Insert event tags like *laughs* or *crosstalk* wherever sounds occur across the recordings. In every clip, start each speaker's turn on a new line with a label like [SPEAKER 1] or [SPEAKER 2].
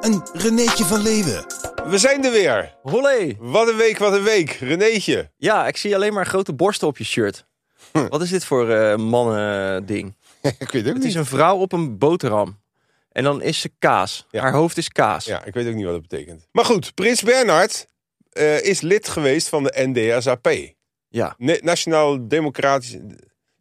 [SPEAKER 1] en Renéetje van Leeuwen.
[SPEAKER 2] We zijn er weer.
[SPEAKER 3] Hollé!
[SPEAKER 2] Wat een week, wat een week. Renéetje.
[SPEAKER 3] Ja, ik zie alleen maar grote borsten op je shirt.
[SPEAKER 2] Hm.
[SPEAKER 3] Wat is dit voor eh, mannen-ding?
[SPEAKER 2] *laughs* ik weet het ook
[SPEAKER 3] Het
[SPEAKER 2] niet.
[SPEAKER 3] is een vrouw op een boterham. En dan is ze kaas.
[SPEAKER 2] Ja.
[SPEAKER 3] Haar hoofd is kaas.
[SPEAKER 2] Ja, ik weet ook niet wat dat betekent. Maar goed, Prins Bernhard eh, is lid geweest van de NDSAP.
[SPEAKER 3] Ja.
[SPEAKER 2] Ne- Nationaal Democratisch
[SPEAKER 3] is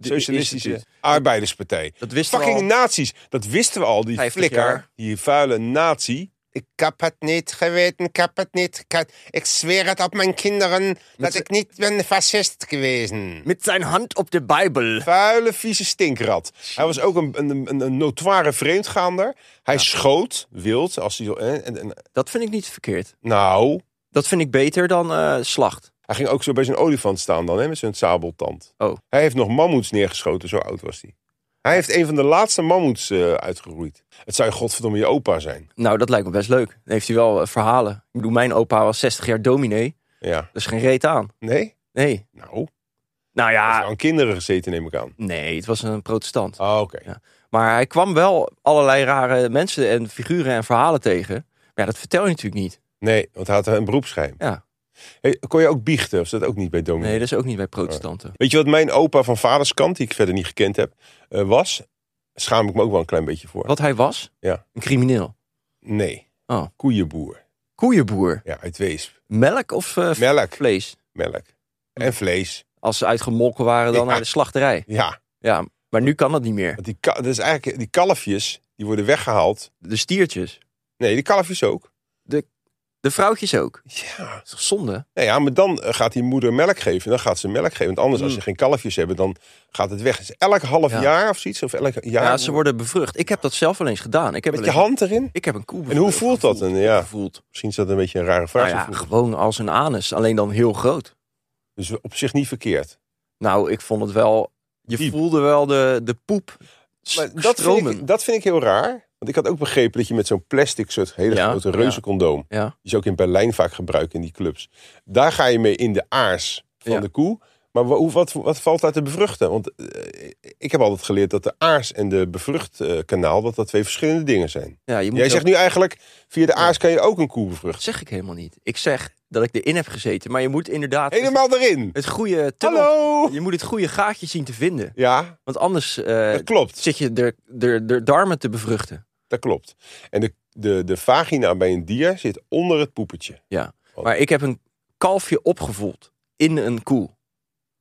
[SPEAKER 2] Socialistische
[SPEAKER 3] het-
[SPEAKER 2] Arbeiderspartij.
[SPEAKER 3] Dat wisten we
[SPEAKER 2] Fucking
[SPEAKER 3] al.
[SPEAKER 2] nazi's. Dat wisten we al, die
[SPEAKER 3] 50
[SPEAKER 2] flikker.
[SPEAKER 3] jaar.
[SPEAKER 2] Die vuile nazi. Ik heb het niet geweten, ik heb het niet. Ik, had- ik zweer het op mijn kinderen dat ik niet ben fascist geweest.
[SPEAKER 3] Met zijn hand op de Bijbel.
[SPEAKER 2] Vuile, vieze stinkrat. Hij was ook een, een, een, een notoire vreemdgaander. Hij schoot wild. Als hij, zo- en, en, en-
[SPEAKER 3] Dat vind ik niet verkeerd.
[SPEAKER 2] nou,
[SPEAKER 3] Dat vind ik beter dan eh, slacht.
[SPEAKER 2] hij ging ook zo bij zijn olifant staan dan, hè, met zijn sabeltand.
[SPEAKER 3] Oh.
[SPEAKER 2] Hij heeft nog mammoets neergeschoten, zo oud was hij. Hij heeft een van de laatste mammoets eh, uitgeroeid. Het zou je godverdomme je opa zijn.
[SPEAKER 3] Nou, dat lijkt me best leuk. Dan heeft hij wel eh, verhalen. Ik bedoel, mijn opa was 60 jaar dominee.
[SPEAKER 2] Ja.
[SPEAKER 3] Dat is geen reet aan.
[SPEAKER 2] Nee? Ah.
[SPEAKER 3] Nee.
[SPEAKER 2] Nou, hij
[SPEAKER 3] Nou
[SPEAKER 2] heeft
[SPEAKER 3] ja,
[SPEAKER 2] aan kinderen gezeten, neem ik aan.
[SPEAKER 3] nee, het was een protestant.
[SPEAKER 2] Ah, oké.
[SPEAKER 3] Ja. Maar hij kwam wel allerlei rare mensen en figuren en verhalen tegen. Maar ja, dat vertel je natuurlijk niet.
[SPEAKER 2] Nee, want hij had een beroepsgeheim.
[SPEAKER 3] Ja.
[SPEAKER 2] Hey, kon je ook biechten? Of is dat ook niet bij dominee?
[SPEAKER 3] Nee, dat is ook niet bij protestanten.
[SPEAKER 2] Weet je wat mijn opa van vaderskant, die ik verder niet gekend heb, eh, was? Schaam ik me ook wel een klein beetje voor.
[SPEAKER 3] Wat hij was?
[SPEAKER 2] Ja.
[SPEAKER 3] Een crimineel.
[SPEAKER 2] Nee.
[SPEAKER 3] Oh.
[SPEAKER 2] Koeienboer.
[SPEAKER 3] Koeienboer.
[SPEAKER 2] Ja, uit Weesp.
[SPEAKER 3] Melk of eh, v-
[SPEAKER 2] Melk.
[SPEAKER 3] vlees?
[SPEAKER 2] Melk. En vlees.
[SPEAKER 3] Als ze uitgemolken waren dan
[SPEAKER 2] Ja.
[SPEAKER 3] naar de slachterij.
[SPEAKER 2] Ja.
[SPEAKER 3] Ja, maar nu kan dat niet meer.
[SPEAKER 2] Want die, ka- dat is eigenlijk, die kalfjes, die worden weggehaald.
[SPEAKER 3] De stiertjes.
[SPEAKER 2] Nee, die kalfjes ook.
[SPEAKER 3] De vrouwtjes ook.
[SPEAKER 2] Ja.
[SPEAKER 3] Dat is toch zonde?
[SPEAKER 2] Nou ja, maar dan eh, gaat die moeder melk geven. En dan gaat ze melk geven. Want anders, als ze geen kalfjes hebben, dan gaat het weg. Dus elk half
[SPEAKER 3] Mm. Ja.
[SPEAKER 2] jaar of zoiets. Of elk
[SPEAKER 3] Ja,
[SPEAKER 2] jaar.
[SPEAKER 3] ze worden bevrucht. Ik heb dat zelf wel eens gedaan. Ik heb
[SPEAKER 2] Met
[SPEAKER 3] wel
[SPEAKER 2] je
[SPEAKER 3] eens-
[SPEAKER 2] hand erin.
[SPEAKER 3] Ik heb een koe
[SPEAKER 2] En hoe voelt dat?
[SPEAKER 3] gevoeld.
[SPEAKER 2] En ja.
[SPEAKER 3] Gevoeld.
[SPEAKER 2] Misschien is dat een beetje een rare vraag.
[SPEAKER 3] Nou ja,
[SPEAKER 2] zo vroeg.
[SPEAKER 3] gewoon als een anus. Alleen dan heel groot.
[SPEAKER 2] Dus op zich niet verkeerd.
[SPEAKER 3] Nou, ik vond het wel. Je
[SPEAKER 2] Diep.
[SPEAKER 3] voelde wel de, de poep s-
[SPEAKER 2] Maar dat, vind
[SPEAKER 3] stromen.
[SPEAKER 2] ik, dat vind ik heel raar. Want ik had ook begrepen dat je met zo'n plastic soort hele
[SPEAKER 3] Ja,
[SPEAKER 2] grote
[SPEAKER 3] ja.
[SPEAKER 2] reuzencondoom...
[SPEAKER 3] Ja.
[SPEAKER 2] die ze ook in Berlijn vaak gebruiken in die clubs... daar ga je mee in de aars van
[SPEAKER 3] Ja.
[SPEAKER 2] de koe. Maar wa- hoe- wat, wat valt daar te bevruchten? Want eh, ik heb altijd geleerd dat de aars en de bevrucht eh, kanaal... dat dat twee verschillende dingen zijn.
[SPEAKER 3] ja, je moet
[SPEAKER 2] Jij
[SPEAKER 3] wel-
[SPEAKER 2] zegt nu eigenlijk, via de aars kan je ook een koe bevruchten.
[SPEAKER 3] Dat zeg ik helemaal niet. Ik zeg dat ik erin heb gezeten, maar je moet inderdaad het,
[SPEAKER 2] Helemaal erin.
[SPEAKER 3] het goede tunnel-
[SPEAKER 2] Hallo!
[SPEAKER 3] Je moet het goede gaatje zien te vinden.
[SPEAKER 2] Ja,
[SPEAKER 3] Want anders eh,
[SPEAKER 2] dat klopt.
[SPEAKER 3] zit je de, de, de darmen te bevruchten.
[SPEAKER 2] Dat klopt. En de, de, de vagina bij een dier zit onder het poepetje.
[SPEAKER 3] Ja.
[SPEAKER 2] Wat?
[SPEAKER 3] Maar ik heb een kalfje opgevoeld in een koe.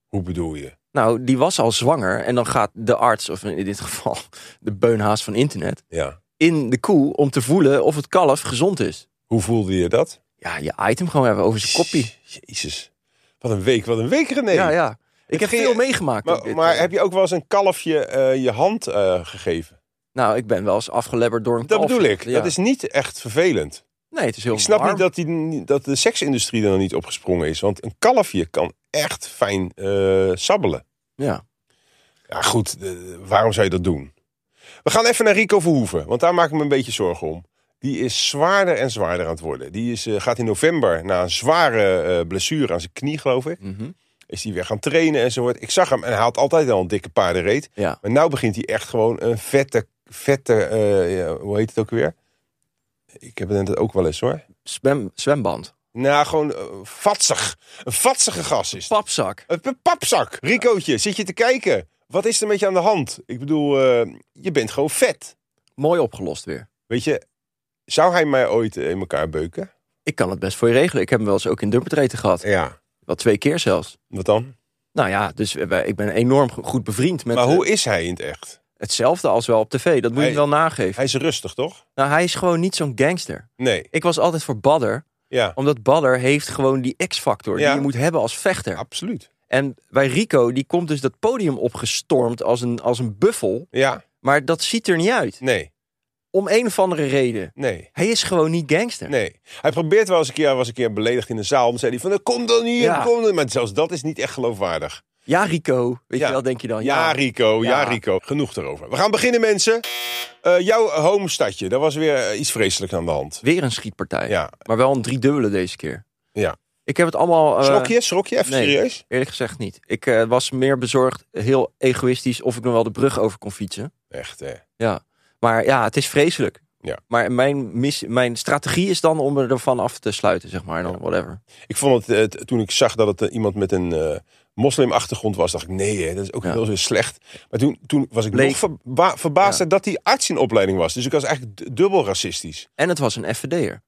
[SPEAKER 2] Hoe bedoel je?
[SPEAKER 3] Nou, die was al zwanger en dan gaat de arts, of in dit geval *laughs* de beunhaas van internet,
[SPEAKER 2] Ja.
[SPEAKER 3] in de koe om te voelen of het kalf gezond is.
[SPEAKER 2] Hoe voelde je dat?
[SPEAKER 3] Ja, je item gewoon hebben over zijn koppie.
[SPEAKER 2] Jezus. Wat een week, wat een week René.
[SPEAKER 3] Ja, ja. Ik heb
[SPEAKER 2] ging-
[SPEAKER 3] veel meegemaakt. op
[SPEAKER 2] Maar,
[SPEAKER 3] dit,
[SPEAKER 2] maar
[SPEAKER 3] eh,
[SPEAKER 2] heb je ook wel eens een kalfje eh, je hand eh, gegeven?
[SPEAKER 3] Nou, ik ben wel eens afgelebberd door een
[SPEAKER 2] Dat
[SPEAKER 3] kalfje.
[SPEAKER 2] bedoel ik.
[SPEAKER 3] Ja.
[SPEAKER 2] Dat is niet echt vervelend.
[SPEAKER 3] Nee, het is heel
[SPEAKER 2] Ik snap
[SPEAKER 3] warm.
[SPEAKER 2] niet dat, die, dat de seksindustrie er nog niet opgesprongen is. Want een kalfje kan echt fijn eh, sabbelen.
[SPEAKER 3] Ja.
[SPEAKER 2] Ja goed, eh, waarom zou je dat doen? We gaan even naar Rico Verhoeven. Want daar maak ik me een beetje zorgen om. Die is zwaarder en zwaarder aan het worden. Die is, eh, gaat in november na een zware eh, blessure aan zijn knie, geloof ik.
[SPEAKER 3] Mhm.
[SPEAKER 2] is hij weer gaan trainen enzovoort. Ik zag hem en hij had altijd al een dikke paardenreet.
[SPEAKER 3] Ja.
[SPEAKER 2] Maar nu begint hij echt gewoon een vette, vette, eh, ja, hoe heet het ook weer? Ik heb het net ook wel eens hoor.
[SPEAKER 3] Zwem, zwemband.
[SPEAKER 2] Nou, gewoon eh, vatsig. Een vatsige gast is het.
[SPEAKER 3] Papzak.
[SPEAKER 2] Een p- papzak. Ricootje, zit je te kijken? Wat is er met je aan de hand? Ik bedoel, eh, je bent gewoon vet.
[SPEAKER 3] Mooi opgelost weer.
[SPEAKER 2] Weet je, zou hij mij ooit eh, in elkaar beuken?
[SPEAKER 3] Ik kan het best voor je regelen. Ik heb hem wel eens ook in dumpertreten gehad.
[SPEAKER 2] Ja.
[SPEAKER 3] Wel twee keer zelfs.
[SPEAKER 2] Wat dan?
[SPEAKER 3] Nou ja, dus eh, wij- ik ben enorm go- goed bevriend met
[SPEAKER 2] maar hoe
[SPEAKER 3] eh,
[SPEAKER 2] is hij in het echt?
[SPEAKER 3] hetzelfde als wel op tv. Dat moet
[SPEAKER 2] Hij-
[SPEAKER 3] je wel nageven.
[SPEAKER 2] Hij is rustig, toch?
[SPEAKER 3] nou, hij is gewoon niet zo'n gangster.
[SPEAKER 2] Nee.
[SPEAKER 3] Ik was altijd voor Badder.
[SPEAKER 2] Ja,
[SPEAKER 3] Omdat Badder heeft gewoon die X-factor
[SPEAKER 2] Ja.
[SPEAKER 3] die je moet hebben als vechter.
[SPEAKER 2] absoluut.
[SPEAKER 3] En bij Rico, die komt dus dat podium opgestormd als een, als een buffel.
[SPEAKER 2] Ja,
[SPEAKER 3] Maar dat ziet er niet uit.
[SPEAKER 2] nee.
[SPEAKER 3] Om een of andere reden.
[SPEAKER 2] Nee.
[SPEAKER 3] Hij is gewoon niet gangster.
[SPEAKER 2] Nee. Hij probeert wel eens een keer, hij was een keer beledigd in de zaal. Dan zei hij van, kom dan hier,
[SPEAKER 3] Ja.
[SPEAKER 2] kom dan. Maar zelfs dat is niet echt geloofwaardig.
[SPEAKER 3] Ja, Rico. Weet
[SPEAKER 2] Ja.
[SPEAKER 3] je wel, denk je dan.
[SPEAKER 2] Ja,
[SPEAKER 3] Oh, Ja,
[SPEAKER 2] Rico, ja.
[SPEAKER 3] Ja.
[SPEAKER 2] Rico. Genoeg erover. We gaan beginnen, mensen. Eh, jouw homestadje, daar was weer eh, iets vreselijks aan de hand.
[SPEAKER 3] Weer een schietpartij.
[SPEAKER 2] Ja.
[SPEAKER 3] Maar wel een driedubbele deze keer.
[SPEAKER 2] Ja.
[SPEAKER 3] Ik heb het allemaal... eh,
[SPEAKER 2] Schrok je? Schrok je? Even
[SPEAKER 3] nee.
[SPEAKER 2] serieus?
[SPEAKER 3] Eerlijk gezegd niet. Ik eh, was meer bezorgd, heel egoïstisch, of ik nog wel de brug over kon fietsen.
[SPEAKER 2] Echt, hè.
[SPEAKER 3] Ja. Maar ja, het is vreselijk.
[SPEAKER 2] Ja.
[SPEAKER 3] Maar mijn, mis, mijn strategie is dan om er ervan af te sluiten, zeg maar. Dan whatever.
[SPEAKER 2] Ik vond het, eh, t- toen ik zag dat het eh, iemand met een eh, moslimachtergrond was, dacht ik, nee, hè, dat is ook
[SPEAKER 3] Ja.
[SPEAKER 2] wel zo slecht. Maar toen, toen was ik
[SPEAKER 3] Bleek.
[SPEAKER 2] nog verba- verbaasd
[SPEAKER 3] Ja.
[SPEAKER 2] dat hij arts in opleiding was. Dus ik was eigenlijk d- dubbel racistisch.
[SPEAKER 3] En het was een FVD'er.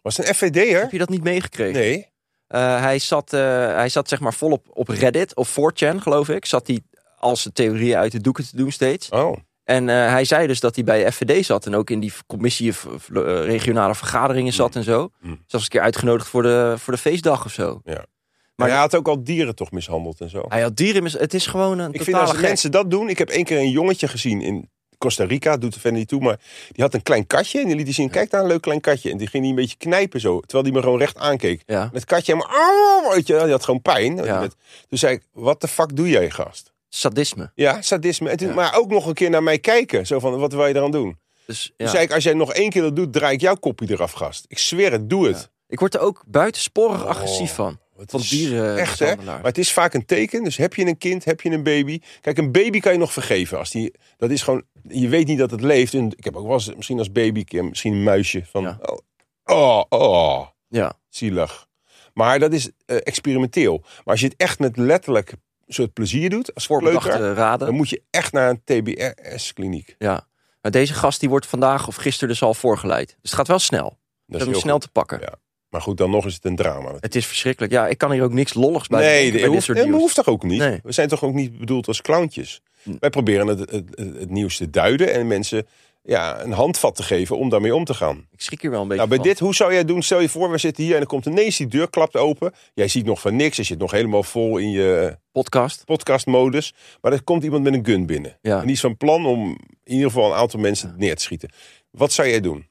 [SPEAKER 2] Was het een FVD'er?
[SPEAKER 3] Heb je dat niet meegekregen?
[SPEAKER 2] Nee.
[SPEAKER 3] Eh, hij, zat, eh, hij zat zeg maar volop op Reddit of 4chan, geloof ik. Zat hij als zijn theorieën uit de doeken te doen steeds.
[SPEAKER 2] Oh,
[SPEAKER 3] En eh, hij zei dus dat hij bij FVD zat en ook in die commissie of- of, eh, regionale vergaderingen zat en zo.
[SPEAKER 2] Mm.
[SPEAKER 3] Zelfs een keer uitgenodigd voor de, voor de feestdag of zo.
[SPEAKER 2] maar
[SPEAKER 3] Maar-
[SPEAKER 2] hij had ook al dieren toch mishandeld en zo.
[SPEAKER 3] Hij had dieren, mis- het is gewoon een
[SPEAKER 2] Ik vind
[SPEAKER 3] totale
[SPEAKER 2] als
[SPEAKER 3] gek.
[SPEAKER 2] mensen dat doen. Ik heb één keer een jongetje gezien in Costa Rica. Doet de fan niet toe. Maar die had een klein katje. En die liet hij zien. Kijk daar een leuk klein katje. En die ging die een beetje knijpen zo. Terwijl die me gewoon recht aankeek.
[SPEAKER 3] Ja,
[SPEAKER 2] Met katje helemaal. "Auw", Weet je, wel, die had gewoon pijn.
[SPEAKER 3] Ja.
[SPEAKER 2] Met- Toen zei ik: Wat de fuck doe jij, gast?
[SPEAKER 3] sadisme.
[SPEAKER 2] Ja, sadisme. En toen,
[SPEAKER 3] Ja.
[SPEAKER 2] Maar ook nog een keer naar mij kijken. Zo van: Wat wil je eraan doen?
[SPEAKER 3] Dus,
[SPEAKER 2] Toen
[SPEAKER 3] ja.
[SPEAKER 2] zei ik: Als jij nog één keer dat doet, draai ik jouw kopje eraf, gast. Ik zweer het, doe het.
[SPEAKER 3] Ik word er ook buitensporig
[SPEAKER 2] Oh,
[SPEAKER 3] agressief van.
[SPEAKER 2] Het
[SPEAKER 3] Van
[SPEAKER 2] is
[SPEAKER 3] dieren. eh,
[SPEAKER 2] Echt hè? Maar het is vaak een teken. Dus heb je een kind, heb je een baby. Kijk, een baby kan je nog vergeven. Als die, dat is gewoon, je weet niet dat het leeft. En ik heb ook wel eens, misschien als baby, een- misschien een muisje. Van,
[SPEAKER 3] Ja.
[SPEAKER 2] oh, oh, oh,
[SPEAKER 3] Ja,
[SPEAKER 2] zielig. Maar dat is eh, experimenteel. Maar als je het echt met letterlijk een soort plezier doet, als kleuter,
[SPEAKER 3] voorbedachte eh, raden.
[SPEAKER 2] dan moet je echt naar een TBS-kliniek.
[SPEAKER 3] Ja. Maar deze gast die wordt vandaag of gisteren dus al voorgeleid. Dus het gaat wel snel.
[SPEAKER 2] Dat
[SPEAKER 3] Om
[SPEAKER 2] is
[SPEAKER 3] hem
[SPEAKER 2] heel
[SPEAKER 3] snel
[SPEAKER 2] goed.
[SPEAKER 3] te pakken.
[SPEAKER 2] Ja. Maar goed, dan nog is het een drama.
[SPEAKER 3] Het is verschrikkelijk. Ja, ik kan hier ook niks lolligs bij
[SPEAKER 2] Nee,
[SPEAKER 3] bedenken
[SPEAKER 2] dat
[SPEAKER 3] bij dit
[SPEAKER 2] hoeft,
[SPEAKER 3] soort
[SPEAKER 2] dat
[SPEAKER 3] nieuws.
[SPEAKER 2] hoeft toch ook niet?
[SPEAKER 3] Nee.
[SPEAKER 2] We zijn toch ook niet bedoeld als clowntjes?
[SPEAKER 3] Hm.
[SPEAKER 2] Wij proberen het, het, het, het nieuws te duiden en mensen ja, een handvat te geven om daarmee om te gaan.
[SPEAKER 3] Ik schrik hier wel een beetje
[SPEAKER 2] Nou, bij
[SPEAKER 3] van.
[SPEAKER 2] dit, hoe zou jij doen? Stel je voor, we zitten hier en er komt ineens die deur, klapt open. Jij ziet nog van niks, je zit nog helemaal vol in je
[SPEAKER 3] podcast.
[SPEAKER 2] podcastmodus. Maar er komt iemand met een gun binnen.
[SPEAKER 3] Ja.
[SPEAKER 2] En die is van plan om in ieder geval een aantal mensen neer te schieten. Wat zou jij doen?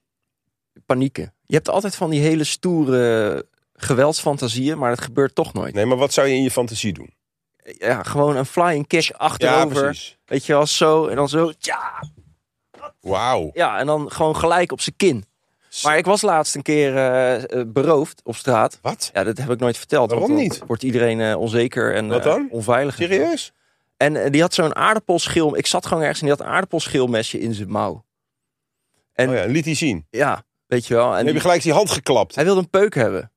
[SPEAKER 3] Panieken. Je hebt altijd van die hele stoere geweldsfantasieën, maar dat gebeurt toch nooit.
[SPEAKER 2] Nee, maar wat zou je in je fantasie doen?
[SPEAKER 3] Ja, gewoon een flying kick
[SPEAKER 2] Ja,
[SPEAKER 3] achterover.
[SPEAKER 2] precies.
[SPEAKER 3] weet je wel, zo en dan zo. Tja,
[SPEAKER 2] Wauw.
[SPEAKER 3] Ja, en dan gewoon gelijk op zijn kin. Maar ik was laatst een keer eh, eh, beroofd op straat.
[SPEAKER 2] Wat?
[SPEAKER 3] Ja, dat heb ik nooit verteld.
[SPEAKER 2] Waarom
[SPEAKER 3] want dan
[SPEAKER 2] niet?
[SPEAKER 3] Wordt iedereen eh, onzeker en
[SPEAKER 2] Wat
[SPEAKER 3] eh,
[SPEAKER 2] dan?
[SPEAKER 3] onveilig. en zo.
[SPEAKER 2] Serieus?
[SPEAKER 3] En eh, die had zo'n aardappelschil. Ik zat gewoon ergens en die had een aardappelschilmesje in zijn mouw. En
[SPEAKER 2] Oh
[SPEAKER 3] ja.
[SPEAKER 2] ja, liet hij zien.
[SPEAKER 3] weet je wel. En
[SPEAKER 2] En heb je
[SPEAKER 3] die-
[SPEAKER 2] gelijk die hand geklapt.
[SPEAKER 3] hij wilde een peuk hebben.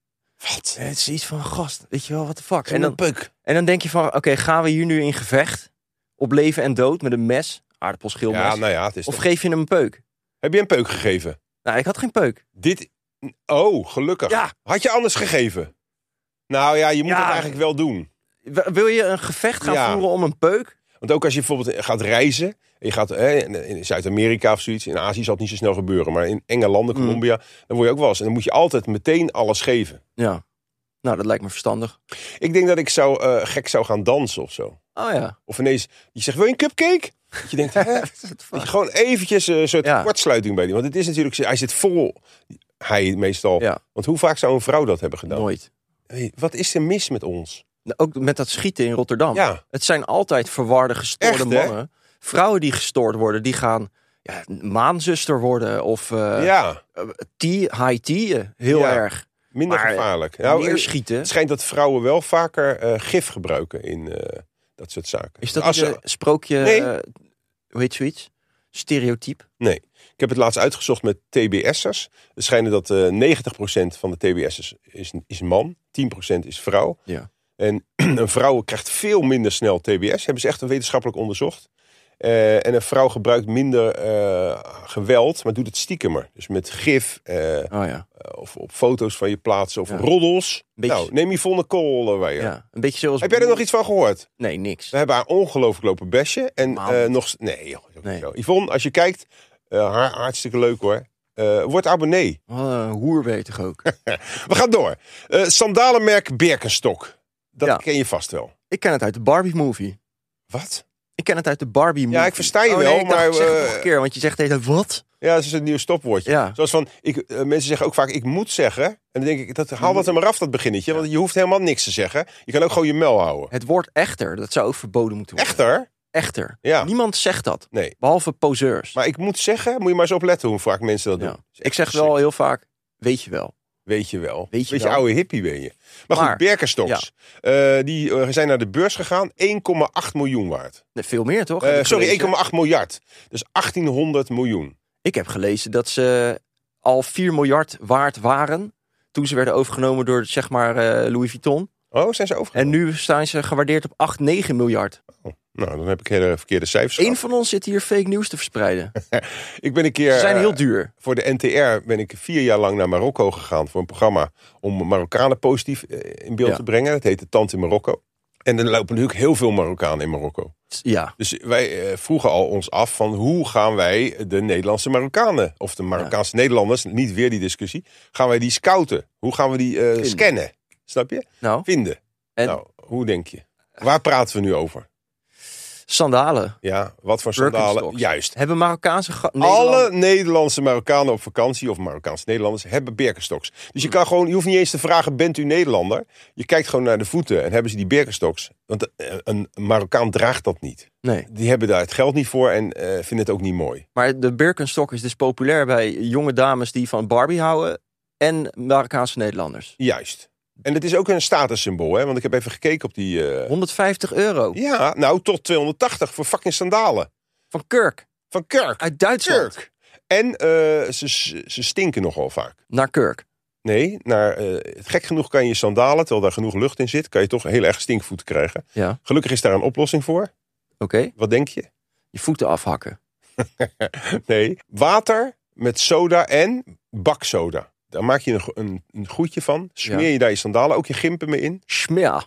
[SPEAKER 2] Wat?
[SPEAKER 3] En het is iets van gast, weet je wel, wat de fuck.
[SPEAKER 2] En
[SPEAKER 3] En dan,
[SPEAKER 2] peuk.
[SPEAKER 3] en dan denk je van, oké, gaan we hier nu in gevecht? Op leven en dood met een mes, aardappelschilmes.
[SPEAKER 2] Ja, nou ja, het is
[SPEAKER 3] of
[SPEAKER 2] toch-
[SPEAKER 3] geef je hem een peuk?
[SPEAKER 2] Heb je een peuk gegeven?
[SPEAKER 3] Nou, ik had geen peuk.
[SPEAKER 2] Dit... Oh, gelukkig.
[SPEAKER 3] Ja.
[SPEAKER 2] Had je anders gegeven? Nou ja, je moet
[SPEAKER 3] Ja.
[SPEAKER 2] het eigenlijk wel doen.
[SPEAKER 3] W- Wil je een gevecht gaan
[SPEAKER 2] Ja.
[SPEAKER 3] voeren om een peuk?
[SPEAKER 2] Want ook als je bijvoorbeeld gaat reizen... en Je gaat hè, in- in Zuid-Amerika of zoiets. In Azië zal het niet zo snel gebeuren. Maar in enge landen,
[SPEAKER 3] Mm.
[SPEAKER 2] Colombia... Dan word je ook wel eens... En dan moet je altijd meteen alles geven.
[SPEAKER 3] Ja. Nou, dat lijkt me verstandig.
[SPEAKER 2] Ik denk dat ik zou, eh, gek zou gaan dansen of zo.
[SPEAKER 3] Oh ja.
[SPEAKER 2] Of ineens... Je zegt, wil je een cupcake? Dat je
[SPEAKER 3] *laughs*
[SPEAKER 2] denkt, hè? Dat je gewoon eventjes eh, een soort
[SPEAKER 3] Ja.
[SPEAKER 2] kortsluiting bij die. Want het is natuurlijk... Hij zit vol... Hij meestal.
[SPEAKER 3] Ja.
[SPEAKER 2] Want hoe vaak zou een vrouw dat hebben gedaan?
[SPEAKER 3] Nooit.
[SPEAKER 2] Hey, wat is er mis met ons?
[SPEAKER 3] Nou, Ook met dat schieten in Rotterdam.
[SPEAKER 2] Ja,
[SPEAKER 3] Het zijn altijd verwarde, gestoorde
[SPEAKER 2] Echt, hè?
[SPEAKER 3] mannen. Vrouwen die gestoord worden, die gaan ja, maanzuster worden. Of eh
[SPEAKER 2] ja.
[SPEAKER 3] tea, high tea'en. Heel
[SPEAKER 2] Ja.
[SPEAKER 3] erg.
[SPEAKER 2] Minder
[SPEAKER 3] maar,
[SPEAKER 2] gevaarlijk. Nou,
[SPEAKER 3] Meer
[SPEAKER 2] eh,
[SPEAKER 3] schieten.
[SPEAKER 2] het schijnt dat vrouwen wel vaker eh, gif gebruiken in eh, dat soort zaken.
[SPEAKER 3] Is dat
[SPEAKER 2] Als
[SPEAKER 3] niet
[SPEAKER 2] ze-
[SPEAKER 3] een sprookje...
[SPEAKER 2] Nee.
[SPEAKER 3] eh, hoe heet zoiets? Stereotype.
[SPEAKER 2] Nee. Ik heb het laatst uitgezocht met TBS'ers. Het schijnt dat eh 90% van de TBS'ers is, is man, 10% is vrouw.
[SPEAKER 3] Ja.
[SPEAKER 2] En *clears throat* een vrouw krijgt veel minder snel TBS. Hebben ze echt wetenschappelijk onderzocht. Eh, en een vrouw gebruikt minder eh, geweld, maar doet het stiekemer. Dus met gif, eh,
[SPEAKER 3] Oh ja.
[SPEAKER 2] of op foto's van je plaatsen of
[SPEAKER 3] Ja.
[SPEAKER 2] roddels.
[SPEAKER 3] Beetje-
[SPEAKER 2] Nou, neem Yvonne Kool bij je.
[SPEAKER 3] ja. Een beetje zoals...
[SPEAKER 2] Heb jij er nog iets van gehoord?
[SPEAKER 3] Nee, niks.
[SPEAKER 2] We hebben haar ongelooflijk lopen besje. En
[SPEAKER 3] Man.
[SPEAKER 2] eh, nog... s- Nee, joh, dat is ook
[SPEAKER 3] Nee.
[SPEAKER 2] niet zo. Yvonne, als je kijkt, eh, haar hartstikke leuk hoor. Eh, word abonnee.
[SPEAKER 3] Wat een
[SPEAKER 2] *laughs*
[SPEAKER 3] hoerbetig ook.
[SPEAKER 2] We gaan door. Eh, sandalenmerk Birkenstock. Dat
[SPEAKER 3] Ja.
[SPEAKER 2] ken je vast wel.
[SPEAKER 3] Ik ken het uit de Barbie-movie.
[SPEAKER 2] Wat?
[SPEAKER 3] Ik ken het uit de Barbie movie.
[SPEAKER 2] ik versta je
[SPEAKER 3] Oh, nee,
[SPEAKER 2] wel,
[SPEAKER 3] ik dacht,
[SPEAKER 2] maar,
[SPEAKER 3] Zeg het
[SPEAKER 2] eh,
[SPEAKER 3] nog een keer, want je zegt de hele tijd, wat?
[SPEAKER 2] Ja, dat is een nieuw stopwoordje.
[SPEAKER 3] Ja.
[SPEAKER 2] Zoals van, ik, eh, mensen zeggen ook vaak, ik moet zeggen. En dan denk ik, dat, haal dat er maar af, dat beginnetje. Want je hoeft helemaal niks te zeggen. Je kan ook gewoon je mel houden.
[SPEAKER 3] Het woord echter, dat zou ook verboden moeten worden.
[SPEAKER 2] Echter?
[SPEAKER 3] Echter.
[SPEAKER 2] Ja.
[SPEAKER 3] Niemand zegt dat.
[SPEAKER 2] Nee.
[SPEAKER 3] Behalve poseurs.
[SPEAKER 2] Maar ik moet zeggen, moet je maar eens opletten hoe vaak mensen dat
[SPEAKER 3] Ja.
[SPEAKER 2] doen.
[SPEAKER 3] Ik zeg wel heel vaak, weet je wel.
[SPEAKER 2] Weet je wel.
[SPEAKER 3] Weet je
[SPEAKER 2] Beetje
[SPEAKER 3] wel.
[SPEAKER 2] oude hippie ben je. Maar,
[SPEAKER 3] Maar-
[SPEAKER 2] goed, Birkenstocks. Eh, die eh, zijn naar de beurs gegaan. 1,8 miljoen waard.
[SPEAKER 3] Nee, veel meer toch?
[SPEAKER 2] Eh,
[SPEAKER 3] Heb ik
[SPEAKER 2] sorry,
[SPEAKER 3] gelezen.
[SPEAKER 2] 1,8 miljard. Dus 1800 miljoen.
[SPEAKER 3] Ik heb gelezen dat ze al 4 miljard waard waren toen ze werden overgenomen door zeg maar eh, Louis Vuitton.
[SPEAKER 2] Oh, zijn ze overgegaan?
[SPEAKER 3] En nu staan ze gewaardeerd op 8, 9 miljard.
[SPEAKER 2] Nou, dan heb ik hele verkeerde cijfers
[SPEAKER 3] Eén
[SPEAKER 2] gehad.
[SPEAKER 3] van ons zit hier fake nieuws te verspreiden.
[SPEAKER 2] Ik ben een keer...
[SPEAKER 3] Ze zijn
[SPEAKER 2] eh,
[SPEAKER 3] heel duur.
[SPEAKER 2] voor de NTR ben ik vier jaar lang naar Marokko gegaan voor een programma om Marokkanen positief eh, in beeld
[SPEAKER 3] Ja.
[SPEAKER 2] te brengen. Dat heette Tante in Marokko. En er lopen natuurlijk heel veel Marokkanen in Marokko.
[SPEAKER 3] Ja,
[SPEAKER 2] Dus wij eh, vroegen al ons af van hoe gaan wij de Nederlandse Marokkanen of de Marokkaanse Nederlanders, niet weer die discussie, gaan wij die scouten? Hoe gaan we die eh, scannen? Snap je?
[SPEAKER 3] nou.
[SPEAKER 2] Vinden.
[SPEAKER 3] En
[SPEAKER 2] Nou, hoe denk je? Waar praten we nu over?
[SPEAKER 3] sandalen.
[SPEAKER 2] Ja, wat voor sandalen?
[SPEAKER 3] Birkenstocks.
[SPEAKER 2] Juist.
[SPEAKER 3] Hebben Marokkaanse... ga-
[SPEAKER 2] Alle
[SPEAKER 3] Nederlanders-
[SPEAKER 2] Nederlandse Marokkanen op vakantie of Marokkaanse Nederlanders hebben Birkenstocks. Dus je kan gewoon, je hoeft niet eens te vragen: bent u Nederlander? Je kijkt gewoon naar de voeten en hebben ze die Birkenstocks? Want eh, een Marokkaan draagt dat niet.
[SPEAKER 3] Nee,
[SPEAKER 2] Die hebben daar het geld niet voor en eh, vinden het ook niet mooi.
[SPEAKER 3] maar de Birkenstock is dus populair bij jonge dames die van Barbie houden en Marokkaanse Nederlanders.
[SPEAKER 2] Juist. En het is ook een statussymbool, hè? Want ik heb even gekeken op die. eh,
[SPEAKER 3] 150 euro
[SPEAKER 2] ja, nou tot 280 voor fucking sandalen
[SPEAKER 3] van Kurk
[SPEAKER 2] van Kirk.
[SPEAKER 3] uit Duitsland
[SPEAKER 2] Kirk. En eh, ze, ze- ze stinken nogal vaak.
[SPEAKER 3] naar Kurk.
[SPEAKER 2] Nee, naar, eh, gek genoeg kan je sandalen, terwijl daar genoeg lucht in zit, kan je toch heel erg stinkvoeten krijgen.
[SPEAKER 3] Ja, oké.
[SPEAKER 2] Gelukkig is daar een oplossing voor. Wat denk je? *laughs*
[SPEAKER 3] Je voeten afhakken.
[SPEAKER 2] Nee, water met soda en baksoda. Daar maak je een, go- een, een goedje van. Smeer
[SPEAKER 3] Ja.
[SPEAKER 2] je daar je sandalen, ook je gimpen mee in.
[SPEAKER 3] Schmeer.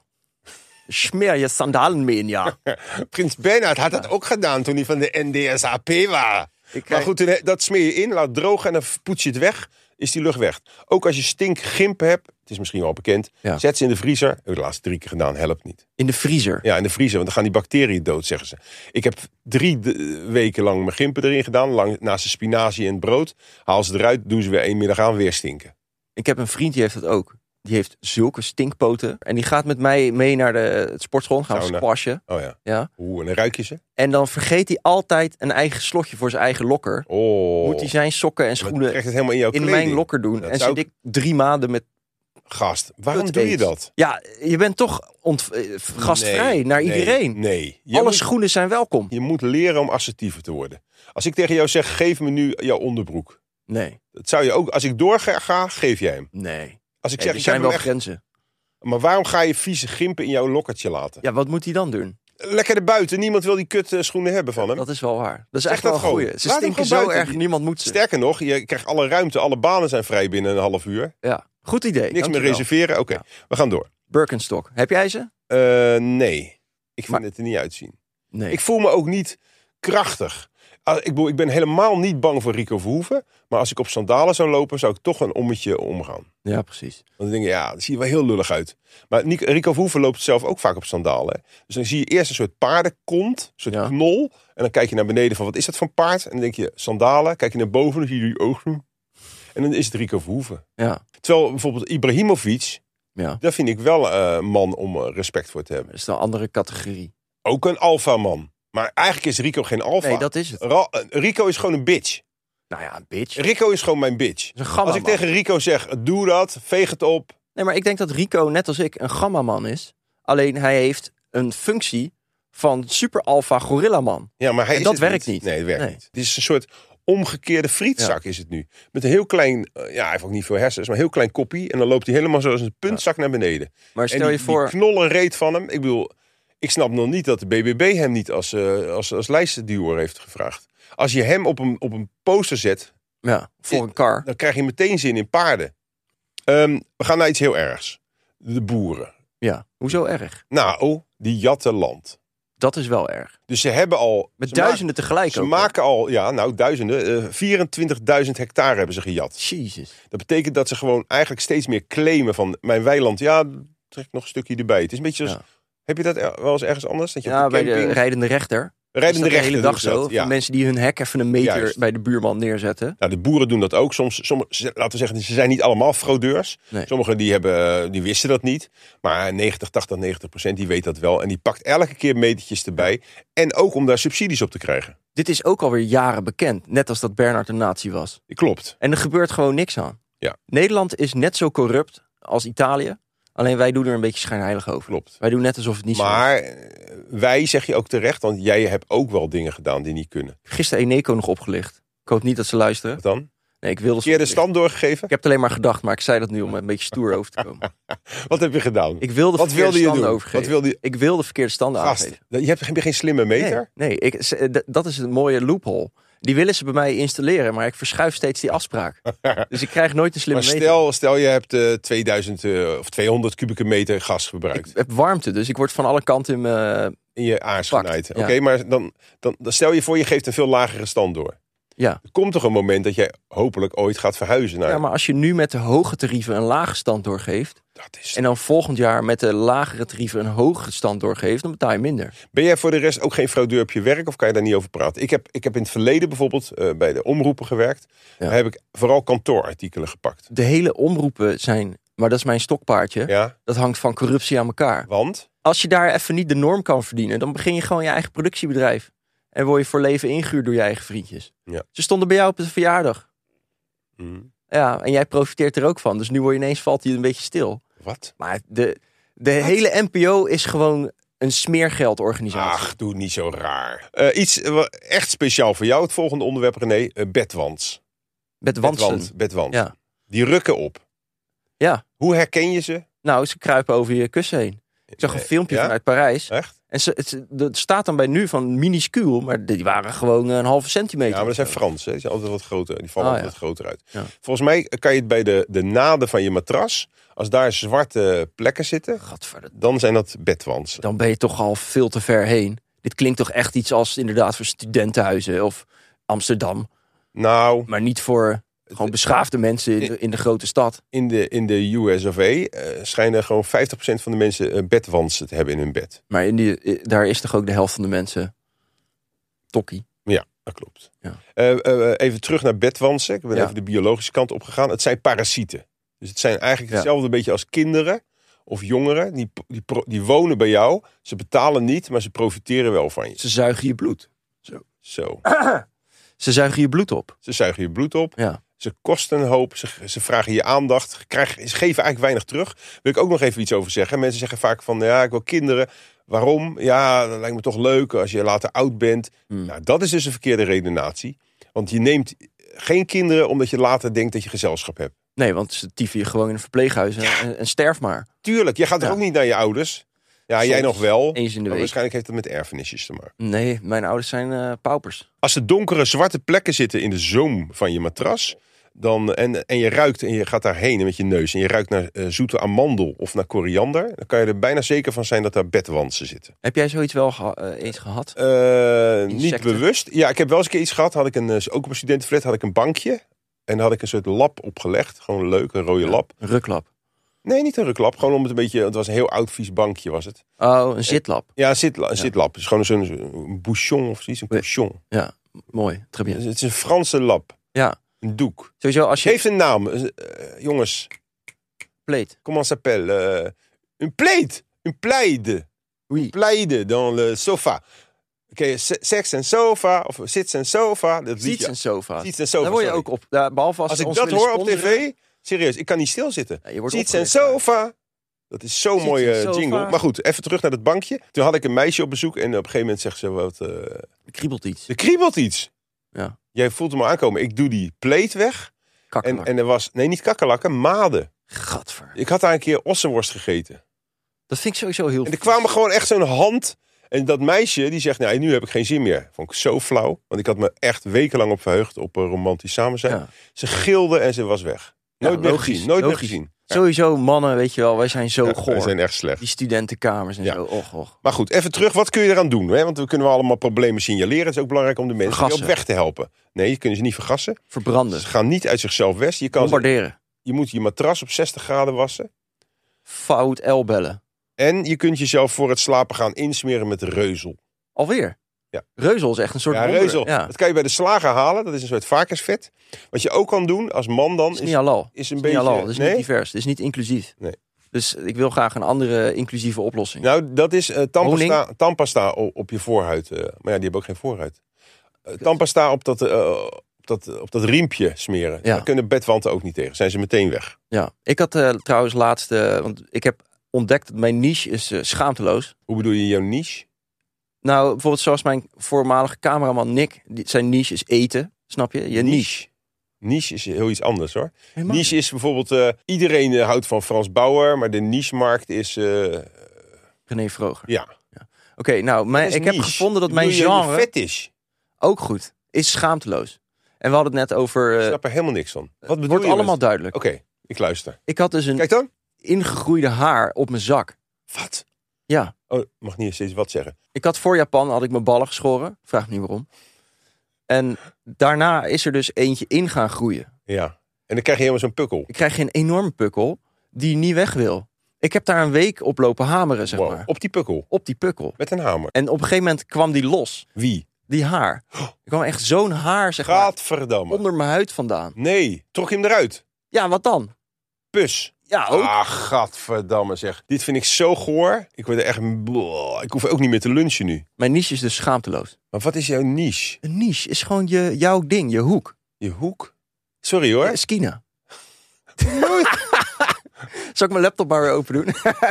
[SPEAKER 3] Schmeer je sandalen mee in,
[SPEAKER 2] *laughs*
[SPEAKER 3] ja.
[SPEAKER 2] *laughs* Prins Bernhard had dat ook gedaan toen hij van de NDSAP was.
[SPEAKER 3] Ik
[SPEAKER 2] Maar goed, toen- dat smeer je in, laat drogen en dan poets je het weg. Is die lucht weg. Ook als je stinkgimpen hebt, het is misschien wel bekend,
[SPEAKER 3] Ja.
[SPEAKER 2] zet ze in de vriezer. Heb ik de laatste drie keer gedaan, helpt niet.
[SPEAKER 3] In de vriezer.
[SPEAKER 2] Ja, in de vriezer, want dan gaan die bacteriën dood, zeggen ze. Ik heb drie d- weken lang mijn gimpen erin gedaan, lang, naast de spinazie en het brood. Haal ze eruit, doen ze weer één middag aan, weer stinken.
[SPEAKER 3] Ik heb een vriend die heeft dat ook. Die heeft zulke stinkpoten. En die gaat met mij mee naar de het sportschool. Gaan we
[SPEAKER 2] Sauna.
[SPEAKER 3] squashen.
[SPEAKER 2] Oh ja.
[SPEAKER 3] Ja.
[SPEAKER 2] Oeh, en dan ruik je ze.
[SPEAKER 3] En dan vergeet hij altijd een eigen slotje voor zijn eigen lokker.
[SPEAKER 2] Oh.
[SPEAKER 3] Moet hij zijn sokken en
[SPEAKER 2] Dan
[SPEAKER 3] schoenen
[SPEAKER 2] krijg je het helemaal in jouw
[SPEAKER 3] in
[SPEAKER 2] kleding.
[SPEAKER 3] mijn lokker doen.
[SPEAKER 2] Dat
[SPEAKER 3] en
[SPEAKER 2] zou
[SPEAKER 3] zit ik drie maanden met...
[SPEAKER 2] Gast, waarom
[SPEAKER 3] Kut
[SPEAKER 2] doe je
[SPEAKER 3] aids.
[SPEAKER 2] dat?
[SPEAKER 3] Ja, je bent toch ont- eh, gastvrij
[SPEAKER 2] Nee,
[SPEAKER 3] naar
[SPEAKER 2] nee,
[SPEAKER 3] iedereen.
[SPEAKER 2] Nee. Je
[SPEAKER 3] Alle
[SPEAKER 2] moet-
[SPEAKER 3] schoenen zijn welkom.
[SPEAKER 2] je moet leren om assertiever te worden. Als ik tegen jou zeg, geef me nu jouw onderbroek.
[SPEAKER 3] Nee,
[SPEAKER 2] Dat zou je ook, als ik doorga, ga, geef jij hem.
[SPEAKER 3] nee.
[SPEAKER 2] Als ik
[SPEAKER 3] Hey,
[SPEAKER 2] zeg,
[SPEAKER 3] er
[SPEAKER 2] ik
[SPEAKER 3] zijn
[SPEAKER 2] heb hem
[SPEAKER 3] wel
[SPEAKER 2] echt,
[SPEAKER 3] grenzen.
[SPEAKER 2] maar waarom ga je vieze gimpen in jouw lokkertje laten?
[SPEAKER 3] Ja, wat moet hij dan doen?
[SPEAKER 2] Lekker erbuiten, niemand wil die kut eh, schoenen hebben van hem.
[SPEAKER 3] Dat is wel waar. Dat is
[SPEAKER 2] Zeg
[SPEAKER 3] echt wel
[SPEAKER 2] dat
[SPEAKER 3] een
[SPEAKER 2] gewoon.
[SPEAKER 3] goeie. Ze
[SPEAKER 2] Laat hem
[SPEAKER 3] stinken
[SPEAKER 2] gewoon
[SPEAKER 3] zo
[SPEAKER 2] buiten.
[SPEAKER 3] erg, niemand moet ze.
[SPEAKER 2] Sterker nog, je krijgt alle ruimte, alle banen zijn vrij binnen een half uur. Niks
[SPEAKER 3] Ja, goed idee.
[SPEAKER 2] meer
[SPEAKER 3] Dankjewel.
[SPEAKER 2] reserveren. Oké, we gaan door.
[SPEAKER 3] Birkenstock. Heb jij ze?
[SPEAKER 2] Eh, nee, ik vind
[SPEAKER 3] Maar-
[SPEAKER 2] het er niet uitzien.
[SPEAKER 3] Nee.
[SPEAKER 2] Ik voel me ook niet krachtig. Ah, Ik, bedoel, ik ben helemaal niet bang voor Rico Verhoeven. Maar als ik op sandalen zou lopen, zou ik toch een ommetje omgaan.
[SPEAKER 3] Ja, precies.
[SPEAKER 2] Want dan denk je, ja, dat ziet er wel heel lullig uit. Maar Nico- Rico Verhoeven loopt zelf ook vaak op sandalen. hè. Dus dan zie je eerst een soort paardenkont, een soort
[SPEAKER 3] Ja.
[SPEAKER 2] knol. En dan kijk je naar beneden van, wat is dat voor paard? En dan denk je, sandalen. Kijk je naar boven, dan zie je die ogen. En dan is het Rico Verhoeven.
[SPEAKER 3] Ja,
[SPEAKER 2] Terwijl bijvoorbeeld Ibrahimovic,
[SPEAKER 3] ja.
[SPEAKER 2] daar vind ik wel eh, een man om eh, respect voor te hebben.
[SPEAKER 3] Dat is een andere categorie.
[SPEAKER 2] Ook een alfa-man. Maar eigenlijk is Rico geen alfa.
[SPEAKER 3] Nee, dat is het.
[SPEAKER 2] Ra- eh, Rico is gewoon een bitch.
[SPEAKER 3] Nou ja, een bitch. Dat
[SPEAKER 2] Rico is gewoon mijn bitch.
[SPEAKER 3] is een gamma
[SPEAKER 2] Als ik tegen Rico zeg, doe dat, veeg het op.
[SPEAKER 3] Nee, maar ik denk dat Rico, net als ik, een gammaman is. Alleen hij heeft een functie van super alpha gorillaman.
[SPEAKER 2] Ja, maar hij
[SPEAKER 3] En
[SPEAKER 2] is
[SPEAKER 3] dat
[SPEAKER 2] het
[SPEAKER 3] werkt niet.
[SPEAKER 2] Nee, het werkt
[SPEAKER 3] Nee.
[SPEAKER 2] niet. Het is een soort omgekeerde frietzak is het nu. Met een heel klein, eh, ja, hij heeft ook niet veel hersens, maar een heel klein koppie. En dan loopt hij helemaal zoals een puntzak naar beneden.
[SPEAKER 3] Maar stel
[SPEAKER 2] en die,
[SPEAKER 3] je voor...
[SPEAKER 2] die knollenreet van hem. Ik bedoel, ik snap nog niet dat de BBB hem niet als, eh als, als lijstduwer heeft gevraagd. Als je hem op een, op een poster zet,
[SPEAKER 3] ja, voor een car.
[SPEAKER 2] dan krijg je meteen zin in paarden. Ehm, we gaan naar iets heel ergs. De boeren.
[SPEAKER 3] Ja, hoezo erg?
[SPEAKER 2] Nou, die jatten land.
[SPEAKER 3] Dat is wel erg.
[SPEAKER 2] Dus ze hebben al...
[SPEAKER 3] Met
[SPEAKER 2] ze
[SPEAKER 3] duizenden
[SPEAKER 2] Maken,
[SPEAKER 3] tegelijk
[SPEAKER 2] ze
[SPEAKER 3] ook.
[SPEAKER 2] maken al, ja, nou duizenden, eh 24.000 hectare hebben ze gejat.
[SPEAKER 3] Jezus.
[SPEAKER 2] Dat betekent dat ze gewoon eigenlijk steeds meer claimen van mijn weiland. Ja, trek nog een stukje erbij. Het is een beetje als...
[SPEAKER 3] Ja.
[SPEAKER 2] Heb je dat er- wel eens ergens anders? Dat je op
[SPEAKER 3] Ja, bij
[SPEAKER 2] camping-
[SPEAKER 3] de rijdende rechter. Is
[SPEAKER 2] Rijdende
[SPEAKER 3] dat de
[SPEAKER 2] rechten
[SPEAKER 3] hele
[SPEAKER 2] doen
[SPEAKER 3] dag
[SPEAKER 2] ze dat,
[SPEAKER 3] zo.
[SPEAKER 2] Ja.
[SPEAKER 3] Mensen die hun hek even een meter
[SPEAKER 2] Juist.
[SPEAKER 3] bij de buurman neerzetten.
[SPEAKER 2] Nou, de boeren doen dat ook. Soms, sommige, ze- laten we zeggen, ze zijn niet allemaal fraudeurs.
[SPEAKER 3] Nee.
[SPEAKER 2] Sommigen die, hebben, eh, die wisten dat niet. Maar 90, 80, 90 procent die weet dat wel. En die pakt elke keer metertjes erbij. En ook om daar subsidies op te krijgen.
[SPEAKER 3] Dit is ook alweer jaren bekend. Net als dat Bernard een nazi was.
[SPEAKER 2] Klopt.
[SPEAKER 3] En er gebeurt gewoon niks aan.
[SPEAKER 2] Ja.
[SPEAKER 3] Nederland is net zo corrupt als Italië. Alleen wij doen er een beetje schijnheilig over.
[SPEAKER 2] Klopt.
[SPEAKER 3] Wij doen net alsof het niet zo is.
[SPEAKER 2] Maar eh, wij zeg je ook terecht, want jij hebt ook wel dingen gedaan die niet kunnen.
[SPEAKER 3] Gisteren Eneco nog opgelicht. Ik hoop niet dat ze luisteren.
[SPEAKER 2] Wat dan?
[SPEAKER 3] Nee, ik wilde ze
[SPEAKER 2] Keer de
[SPEAKER 3] oplichten.
[SPEAKER 2] stand doorgegeven?
[SPEAKER 3] Ik heb het alleen maar gedacht, maar ik zei dat nu om een beetje stoer over te
[SPEAKER 2] *laughs*
[SPEAKER 3] komen.
[SPEAKER 2] Wat heb je gedaan?
[SPEAKER 3] Ik wilde
[SPEAKER 2] Wat
[SPEAKER 3] verkeerde
[SPEAKER 2] wilde je
[SPEAKER 3] standen
[SPEAKER 2] doen?
[SPEAKER 3] overgeven.
[SPEAKER 2] Wat wilde je?
[SPEAKER 3] Ik wilde verkeerde standen
[SPEAKER 2] Gast,
[SPEAKER 3] aangeven.
[SPEAKER 2] je hebt geen, geen slimme meter.
[SPEAKER 3] Nee, nee ik, ze- eh, d- dat is een mooie loophole. Die willen ze bij mij installeren, maar ik verschuif steeds die
[SPEAKER 2] *laughs*
[SPEAKER 3] afspraak. Dus ik krijg nooit een slimme
[SPEAKER 2] Maar
[SPEAKER 3] meter.
[SPEAKER 2] stel, stel je hebt eh, 2000 eh, of 200 kubieke meter gas gebruikt.
[SPEAKER 3] Ik heb warmte, dus ik word van alle kanten in mijn...
[SPEAKER 2] in je aars
[SPEAKER 3] Pakt,
[SPEAKER 2] genaaid. Oké,
[SPEAKER 3] ja.
[SPEAKER 2] maar dan, dan, dan stel je voor, je geeft een veel lagere stand door.
[SPEAKER 3] Ja.
[SPEAKER 2] Er komt toch een moment dat jij hopelijk ooit gaat verhuizen naar...
[SPEAKER 3] ja, maar als je nu met de hoge tarieven een lage stand doorgeeft...
[SPEAKER 2] dat is...
[SPEAKER 3] en dan volgend jaar met de lagere tarieven een hoge stand doorgeeft... dan betaal je minder.
[SPEAKER 2] Ben jij voor de rest ook geen fraudeur op je werk of kan je daar niet over praten? Ik heb, ik heb in het verleden bijvoorbeeld eh, bij de omroepen gewerkt.
[SPEAKER 3] Ja.
[SPEAKER 2] Daar heb ik vooral kantoorartikelen gepakt.
[SPEAKER 3] De hele omroepen zijn... maar dat is mijn stokpaardje.
[SPEAKER 2] Ja,
[SPEAKER 3] Dat hangt van corruptie aan elkaar.
[SPEAKER 2] want...
[SPEAKER 3] Als je daar even niet de norm kan verdienen... dan begin je gewoon je eigen productiebedrijf. En word je voor leven ingehuurd door je eigen vriendjes.
[SPEAKER 2] Ja.
[SPEAKER 3] Ze stonden bij jou op de verjaardag.
[SPEAKER 2] Hm,
[SPEAKER 3] Ja, en jij profiteert er ook van. Dus nu word je ineens valt hij een beetje stil.
[SPEAKER 2] wat?
[SPEAKER 3] Maar de, de hele NPO is gewoon een smeergeldorganisatie.
[SPEAKER 2] Ach, doe niet zo raar. Eh, iets eh, wa- echt speciaal voor jou, het volgende onderwerp, René. Eh, bedwants.
[SPEAKER 3] met wansen.
[SPEAKER 2] Bedwant, bedwant.
[SPEAKER 3] Ja.
[SPEAKER 2] Die rukken op.
[SPEAKER 3] Ja.
[SPEAKER 2] Hoe herken je ze?
[SPEAKER 3] Nou, ze kruipen over je kussen heen. Ik zag een
[SPEAKER 2] Eh,
[SPEAKER 3] filmpje
[SPEAKER 2] ja?
[SPEAKER 3] vanuit Parijs.
[SPEAKER 2] Echt?
[SPEAKER 3] En ze, het, dat staat dan bij nu van minuscuul. Maar die waren gewoon een halve centimeter.
[SPEAKER 2] Ja, maar dat
[SPEAKER 3] of
[SPEAKER 2] zijn
[SPEAKER 3] zo.
[SPEAKER 2] Fransen. hè. Die zijn altijd wat groter. Die vallen
[SPEAKER 3] Ah,
[SPEAKER 2] altijd
[SPEAKER 3] ja.
[SPEAKER 2] wat groter uit.
[SPEAKER 3] Ja.
[SPEAKER 2] Volgens mij eh, kan je het bij de, de naden van je matras. Als daar zwarte plekken zitten,
[SPEAKER 3] Gadverd-
[SPEAKER 2] dan zijn dat bedwansen.
[SPEAKER 3] Dan ben je toch al veel te ver heen. Dit klinkt toch echt iets als inderdaad voor studentenhuizen of Amsterdam.
[SPEAKER 2] Nou,
[SPEAKER 3] Maar niet voor gewoon beschaafde mensen in de, in de grote stad.
[SPEAKER 2] in de, in de US of A eh, schijnen gewoon 50% van de mensen eh, bedwansen te hebben in hun bed.
[SPEAKER 3] Maar in die, eh, daar is toch ook de helft van de mensen tokkie.
[SPEAKER 2] Ja, dat klopt.
[SPEAKER 3] Ja.
[SPEAKER 2] Eh, eh, eh, even terug naar bedwansen. Ik ben
[SPEAKER 3] Ja.
[SPEAKER 2] even de biologische kant opgegaan. Het zijn parasieten. Dus het zijn eigenlijk
[SPEAKER 3] Ja.
[SPEAKER 2] hetzelfde beetje als kinderen of jongeren. Die, die, pro- die wonen bij jou. Ze betalen niet, maar ze profiteren wel van je.
[SPEAKER 3] Ze zuigen je bloed.
[SPEAKER 2] Zo.
[SPEAKER 3] Ze zuigen je bloed op.
[SPEAKER 2] Ze zuigen je bloed op.
[SPEAKER 3] Ja.
[SPEAKER 2] Ze kosten een hoop. Ze, ze vragen je aandacht. Krijgen, ze geven eigenlijk weinig terug. Wil ik ook nog even iets over zeggen. Mensen zeggen vaak van, ja, ik wil kinderen. Waarom? Ja, dat lijkt me toch leuk als je later oud bent.
[SPEAKER 3] Hmm.
[SPEAKER 2] Nou, dat is dus een verkeerde redenatie. Want je neemt geen kinderen omdat je later denkt dat je gezelschap hebt.
[SPEAKER 3] Nee, want ze tieven je gewoon in een verpleeghuis en, en, en sterf maar.
[SPEAKER 2] Tuurlijk, je gaat toch
[SPEAKER 3] Ja.
[SPEAKER 2] ook niet naar je ouders? Ja, jij
[SPEAKER 3] Soms.
[SPEAKER 2] nog wel.
[SPEAKER 3] Eens in de
[SPEAKER 2] Maar
[SPEAKER 3] week.
[SPEAKER 2] waarschijnlijk heeft dat met erfenisjes te maken.
[SPEAKER 3] Nee, mijn ouders zijn eh, paupers.
[SPEAKER 2] Als er donkere zwarte plekken zitten in de zoom van je matras. Dan, en, en je ruikt en je gaat daarheen met je neus. En je ruikt naar eh, zoete amandel of naar koriander. Dan kan je er bijna zeker van zijn dat daar bedwansen zitten.
[SPEAKER 3] Heb jij zoiets wel geha- eh, eens gehad?
[SPEAKER 2] Eh, niet
[SPEAKER 3] Insecten.
[SPEAKER 2] bewust. Ja, ik heb wel eens een keer iets gehad. Had ik een, eh, ook op een studentenflat had ik een bankje. En daar had ik een soort lap opgelegd. Gewoon leuk, een rode lap.
[SPEAKER 3] Een ruklap.
[SPEAKER 2] Nee, niet een ruklap. Gewoon om het een beetje... Het was een heel oud vies bankje was het.
[SPEAKER 3] Oh, een zitlap.
[SPEAKER 2] Ja, een zitla, een zitlap. Het is gewoon zo'n zo'n bouchon of zoiets. Een
[SPEAKER 3] Nee.
[SPEAKER 2] bouchon.
[SPEAKER 3] Ja, mooi. Très bien.
[SPEAKER 2] Het is een Franse lap.
[SPEAKER 3] Ja.
[SPEAKER 2] Een doek.
[SPEAKER 3] Sowieso als
[SPEAKER 2] Het
[SPEAKER 3] je
[SPEAKER 2] heeft een naam. Eh, eh, jongens,
[SPEAKER 3] pleet.
[SPEAKER 2] comment s'appelle eh, Een plaid. Een plaid.
[SPEAKER 3] Oui.
[SPEAKER 2] Plaid dans le sofa. Oké, se- seks en sofa. Of zits en sofa. Dat
[SPEAKER 3] Ziets
[SPEAKER 2] liedje.
[SPEAKER 3] en sofa.
[SPEAKER 2] Zits en sofa.
[SPEAKER 3] Daar word je
[SPEAKER 2] sorry.
[SPEAKER 3] ook op. daar- behalve als,
[SPEAKER 2] Als
[SPEAKER 3] ze
[SPEAKER 2] ik
[SPEAKER 3] ons
[SPEAKER 2] dat
[SPEAKER 3] willen
[SPEAKER 2] hoor op
[SPEAKER 3] sponsoren.
[SPEAKER 2] tv, serieus, ik kan niet stilzitten.
[SPEAKER 3] Ja, je wordt
[SPEAKER 2] Ziets en
[SPEAKER 3] opgelicht daar.
[SPEAKER 2] sofa. Dat is zo'n
[SPEAKER 3] Ziets
[SPEAKER 2] mooie
[SPEAKER 3] en sofa.
[SPEAKER 2] jingle. Maar goed, even terug naar dat bankje. Toen had ik een meisje op bezoek en op een gegeven moment zegt ze wat... eh,
[SPEAKER 3] Kriebelt iets.
[SPEAKER 2] er kriebelt iets.
[SPEAKER 3] Ja.
[SPEAKER 2] Jij voelt hem aankomen. Ik doe die pleet weg. En,
[SPEAKER 3] Kakkelak.
[SPEAKER 2] en er was, nee, niet kakkerlakken, maden.
[SPEAKER 3] Gadver.
[SPEAKER 2] Ik had daar een keer ossenworst gegeten.
[SPEAKER 3] Dat vind ik sowieso heel
[SPEAKER 2] En er
[SPEAKER 3] vies.
[SPEAKER 2] kwamen gewoon echt zo'n hand. En dat meisje die zegt, nou, nu heb ik geen zin meer. Vond ik zo flauw. Want ik had me echt wekenlang op verheugd op een romantisch samen zijn.
[SPEAKER 3] Ja.
[SPEAKER 2] Ze gilde en ze was weg.
[SPEAKER 3] Ja,
[SPEAKER 2] Nooit meer
[SPEAKER 3] logisch,
[SPEAKER 2] gezien. Nooit
[SPEAKER 3] logisch. Oh,
[SPEAKER 2] meer gezien.
[SPEAKER 3] Sowieso mannen, weet je wel. Wij zijn zo
[SPEAKER 2] Ja,
[SPEAKER 3] goor.
[SPEAKER 2] Ze zijn echt slecht.
[SPEAKER 3] Die studentenkamers en
[SPEAKER 2] Ja.
[SPEAKER 3] zo. Och, och.
[SPEAKER 2] Maar goed, even terug. Wat kun je eraan doen? Hè? Want we kunnen wel allemaal problemen signaleren. Het is ook belangrijk om de mensen weer op
[SPEAKER 3] Vergassen.
[SPEAKER 2] weg te helpen. Nee, je kunt ze niet vergassen.
[SPEAKER 3] Verbranden.
[SPEAKER 2] Ze gaan niet uit zichzelf weg. Je, kan ze-
[SPEAKER 3] Bombarderen.
[SPEAKER 2] je moet je matras op 60 graden wassen.
[SPEAKER 3] Fout elbellen.
[SPEAKER 2] En je kunt jezelf voor het slapen gaan insmeren met reuzel.
[SPEAKER 3] Alweer.
[SPEAKER 2] Ja.
[SPEAKER 3] Reuzel is echt een soort
[SPEAKER 2] Ja,
[SPEAKER 3] wonder.
[SPEAKER 2] reuzel.
[SPEAKER 3] Ja.
[SPEAKER 2] Dat kan je bij de slager halen. Dat is een soort varkensvet. Wat je ook kan doen als man dan...
[SPEAKER 3] is niet halal.
[SPEAKER 2] is een
[SPEAKER 3] niet
[SPEAKER 2] beetje-
[SPEAKER 3] halal. Het is
[SPEAKER 2] nee?
[SPEAKER 3] niet divers. Het is niet inclusief.
[SPEAKER 2] Nee.
[SPEAKER 3] Dus ik wil graag een andere inclusieve oplossing.
[SPEAKER 2] Nou, dat is eh, tandpasta,
[SPEAKER 3] Honing?
[SPEAKER 2] tandpasta o- op, je voorhuid. eh. maar ja, die hebben ook geen voorhuid. Eh, tandpasta op dat, eh, op, dat, op dat riempje smeren.
[SPEAKER 3] Ja.
[SPEAKER 2] Daar kunnen bedwanten ook niet tegen. Zijn ze meteen weg.
[SPEAKER 3] Ja. Ik had eh, trouwens laatst... eh, want ik heb ontdekt dat mijn niche is eh, schaamteloos.
[SPEAKER 2] Hoe bedoel je jouw niche?
[SPEAKER 3] Nou, bijvoorbeeld zoals mijn voormalige cameraman Nick. Die, zijn niche is eten. Snap je? Je niche.
[SPEAKER 2] Niche is heel iets anders hoor.
[SPEAKER 3] Helemaal
[SPEAKER 2] Niche is bijvoorbeeld, eh, iedereen eh, houdt van Frans Bauer, maar de niche-markt is, eh,
[SPEAKER 3] René Vroger.
[SPEAKER 2] ja.
[SPEAKER 3] Oké, nou, mijn,
[SPEAKER 2] Dat is
[SPEAKER 3] ik heb
[SPEAKER 2] niche.
[SPEAKER 3] gevonden dat
[SPEAKER 2] Ik
[SPEAKER 3] mijn
[SPEAKER 2] bedoel, je
[SPEAKER 3] genre
[SPEAKER 2] fetish.
[SPEAKER 3] ook goed is schaamteloos. En we hadden het net over...
[SPEAKER 2] Ik
[SPEAKER 3] eh
[SPEAKER 2] snap er helemaal niks van. Wat bedoel
[SPEAKER 3] wordt
[SPEAKER 2] je met-
[SPEAKER 3] allemaal duidelijk.
[SPEAKER 2] Oké, ik luister.
[SPEAKER 3] Ik had dus een
[SPEAKER 2] Kijk dan.
[SPEAKER 3] ingegroeide haar op mijn zak.
[SPEAKER 2] Wat?
[SPEAKER 3] Ja.
[SPEAKER 2] Oh, ik mag niet steeds wat zeggen.
[SPEAKER 3] Ik had voor Japan had ik mijn ballen geschoren. Vraag me niet waarom. En daarna is er dus eentje in gaan groeien.
[SPEAKER 2] Ja. En dan krijg je helemaal zo'n pukkel.
[SPEAKER 3] Ik krijg een enorme pukkel die niet weg wil. Ik heb daar een week op lopen hameren, zeg
[SPEAKER 2] Wow,
[SPEAKER 3] maar.
[SPEAKER 2] Op die pukkel.
[SPEAKER 3] Op die pukkel.
[SPEAKER 2] Met een hamer.
[SPEAKER 3] En op een gegeven moment kwam die los.
[SPEAKER 2] Wie?
[SPEAKER 3] Die haar. Er kwam echt zo'n haar, zeg maar,
[SPEAKER 2] Gaatverdamme.
[SPEAKER 3] onder mijn huid vandaan.
[SPEAKER 2] Nee, trok je hem eruit.
[SPEAKER 3] Ja, wat dan?
[SPEAKER 2] Pus.
[SPEAKER 3] Ja, ook.
[SPEAKER 2] Ah, gadverdamme zeg. Dit vind ik zo goor. Ik word er echt... Blah, Ik hoef ook niet meer te lunchen nu.
[SPEAKER 3] Mijn niche is dus schaamteloos.
[SPEAKER 2] Maar wat is jouw niche?
[SPEAKER 3] Een niche is gewoon je, jouw ding, je hoek.
[SPEAKER 2] Je hoek? Sorry hoor.
[SPEAKER 3] Eh, Skina. Zal ik mijn laptop maar weer open
[SPEAKER 2] *laughs*
[SPEAKER 3] doen? *laughs*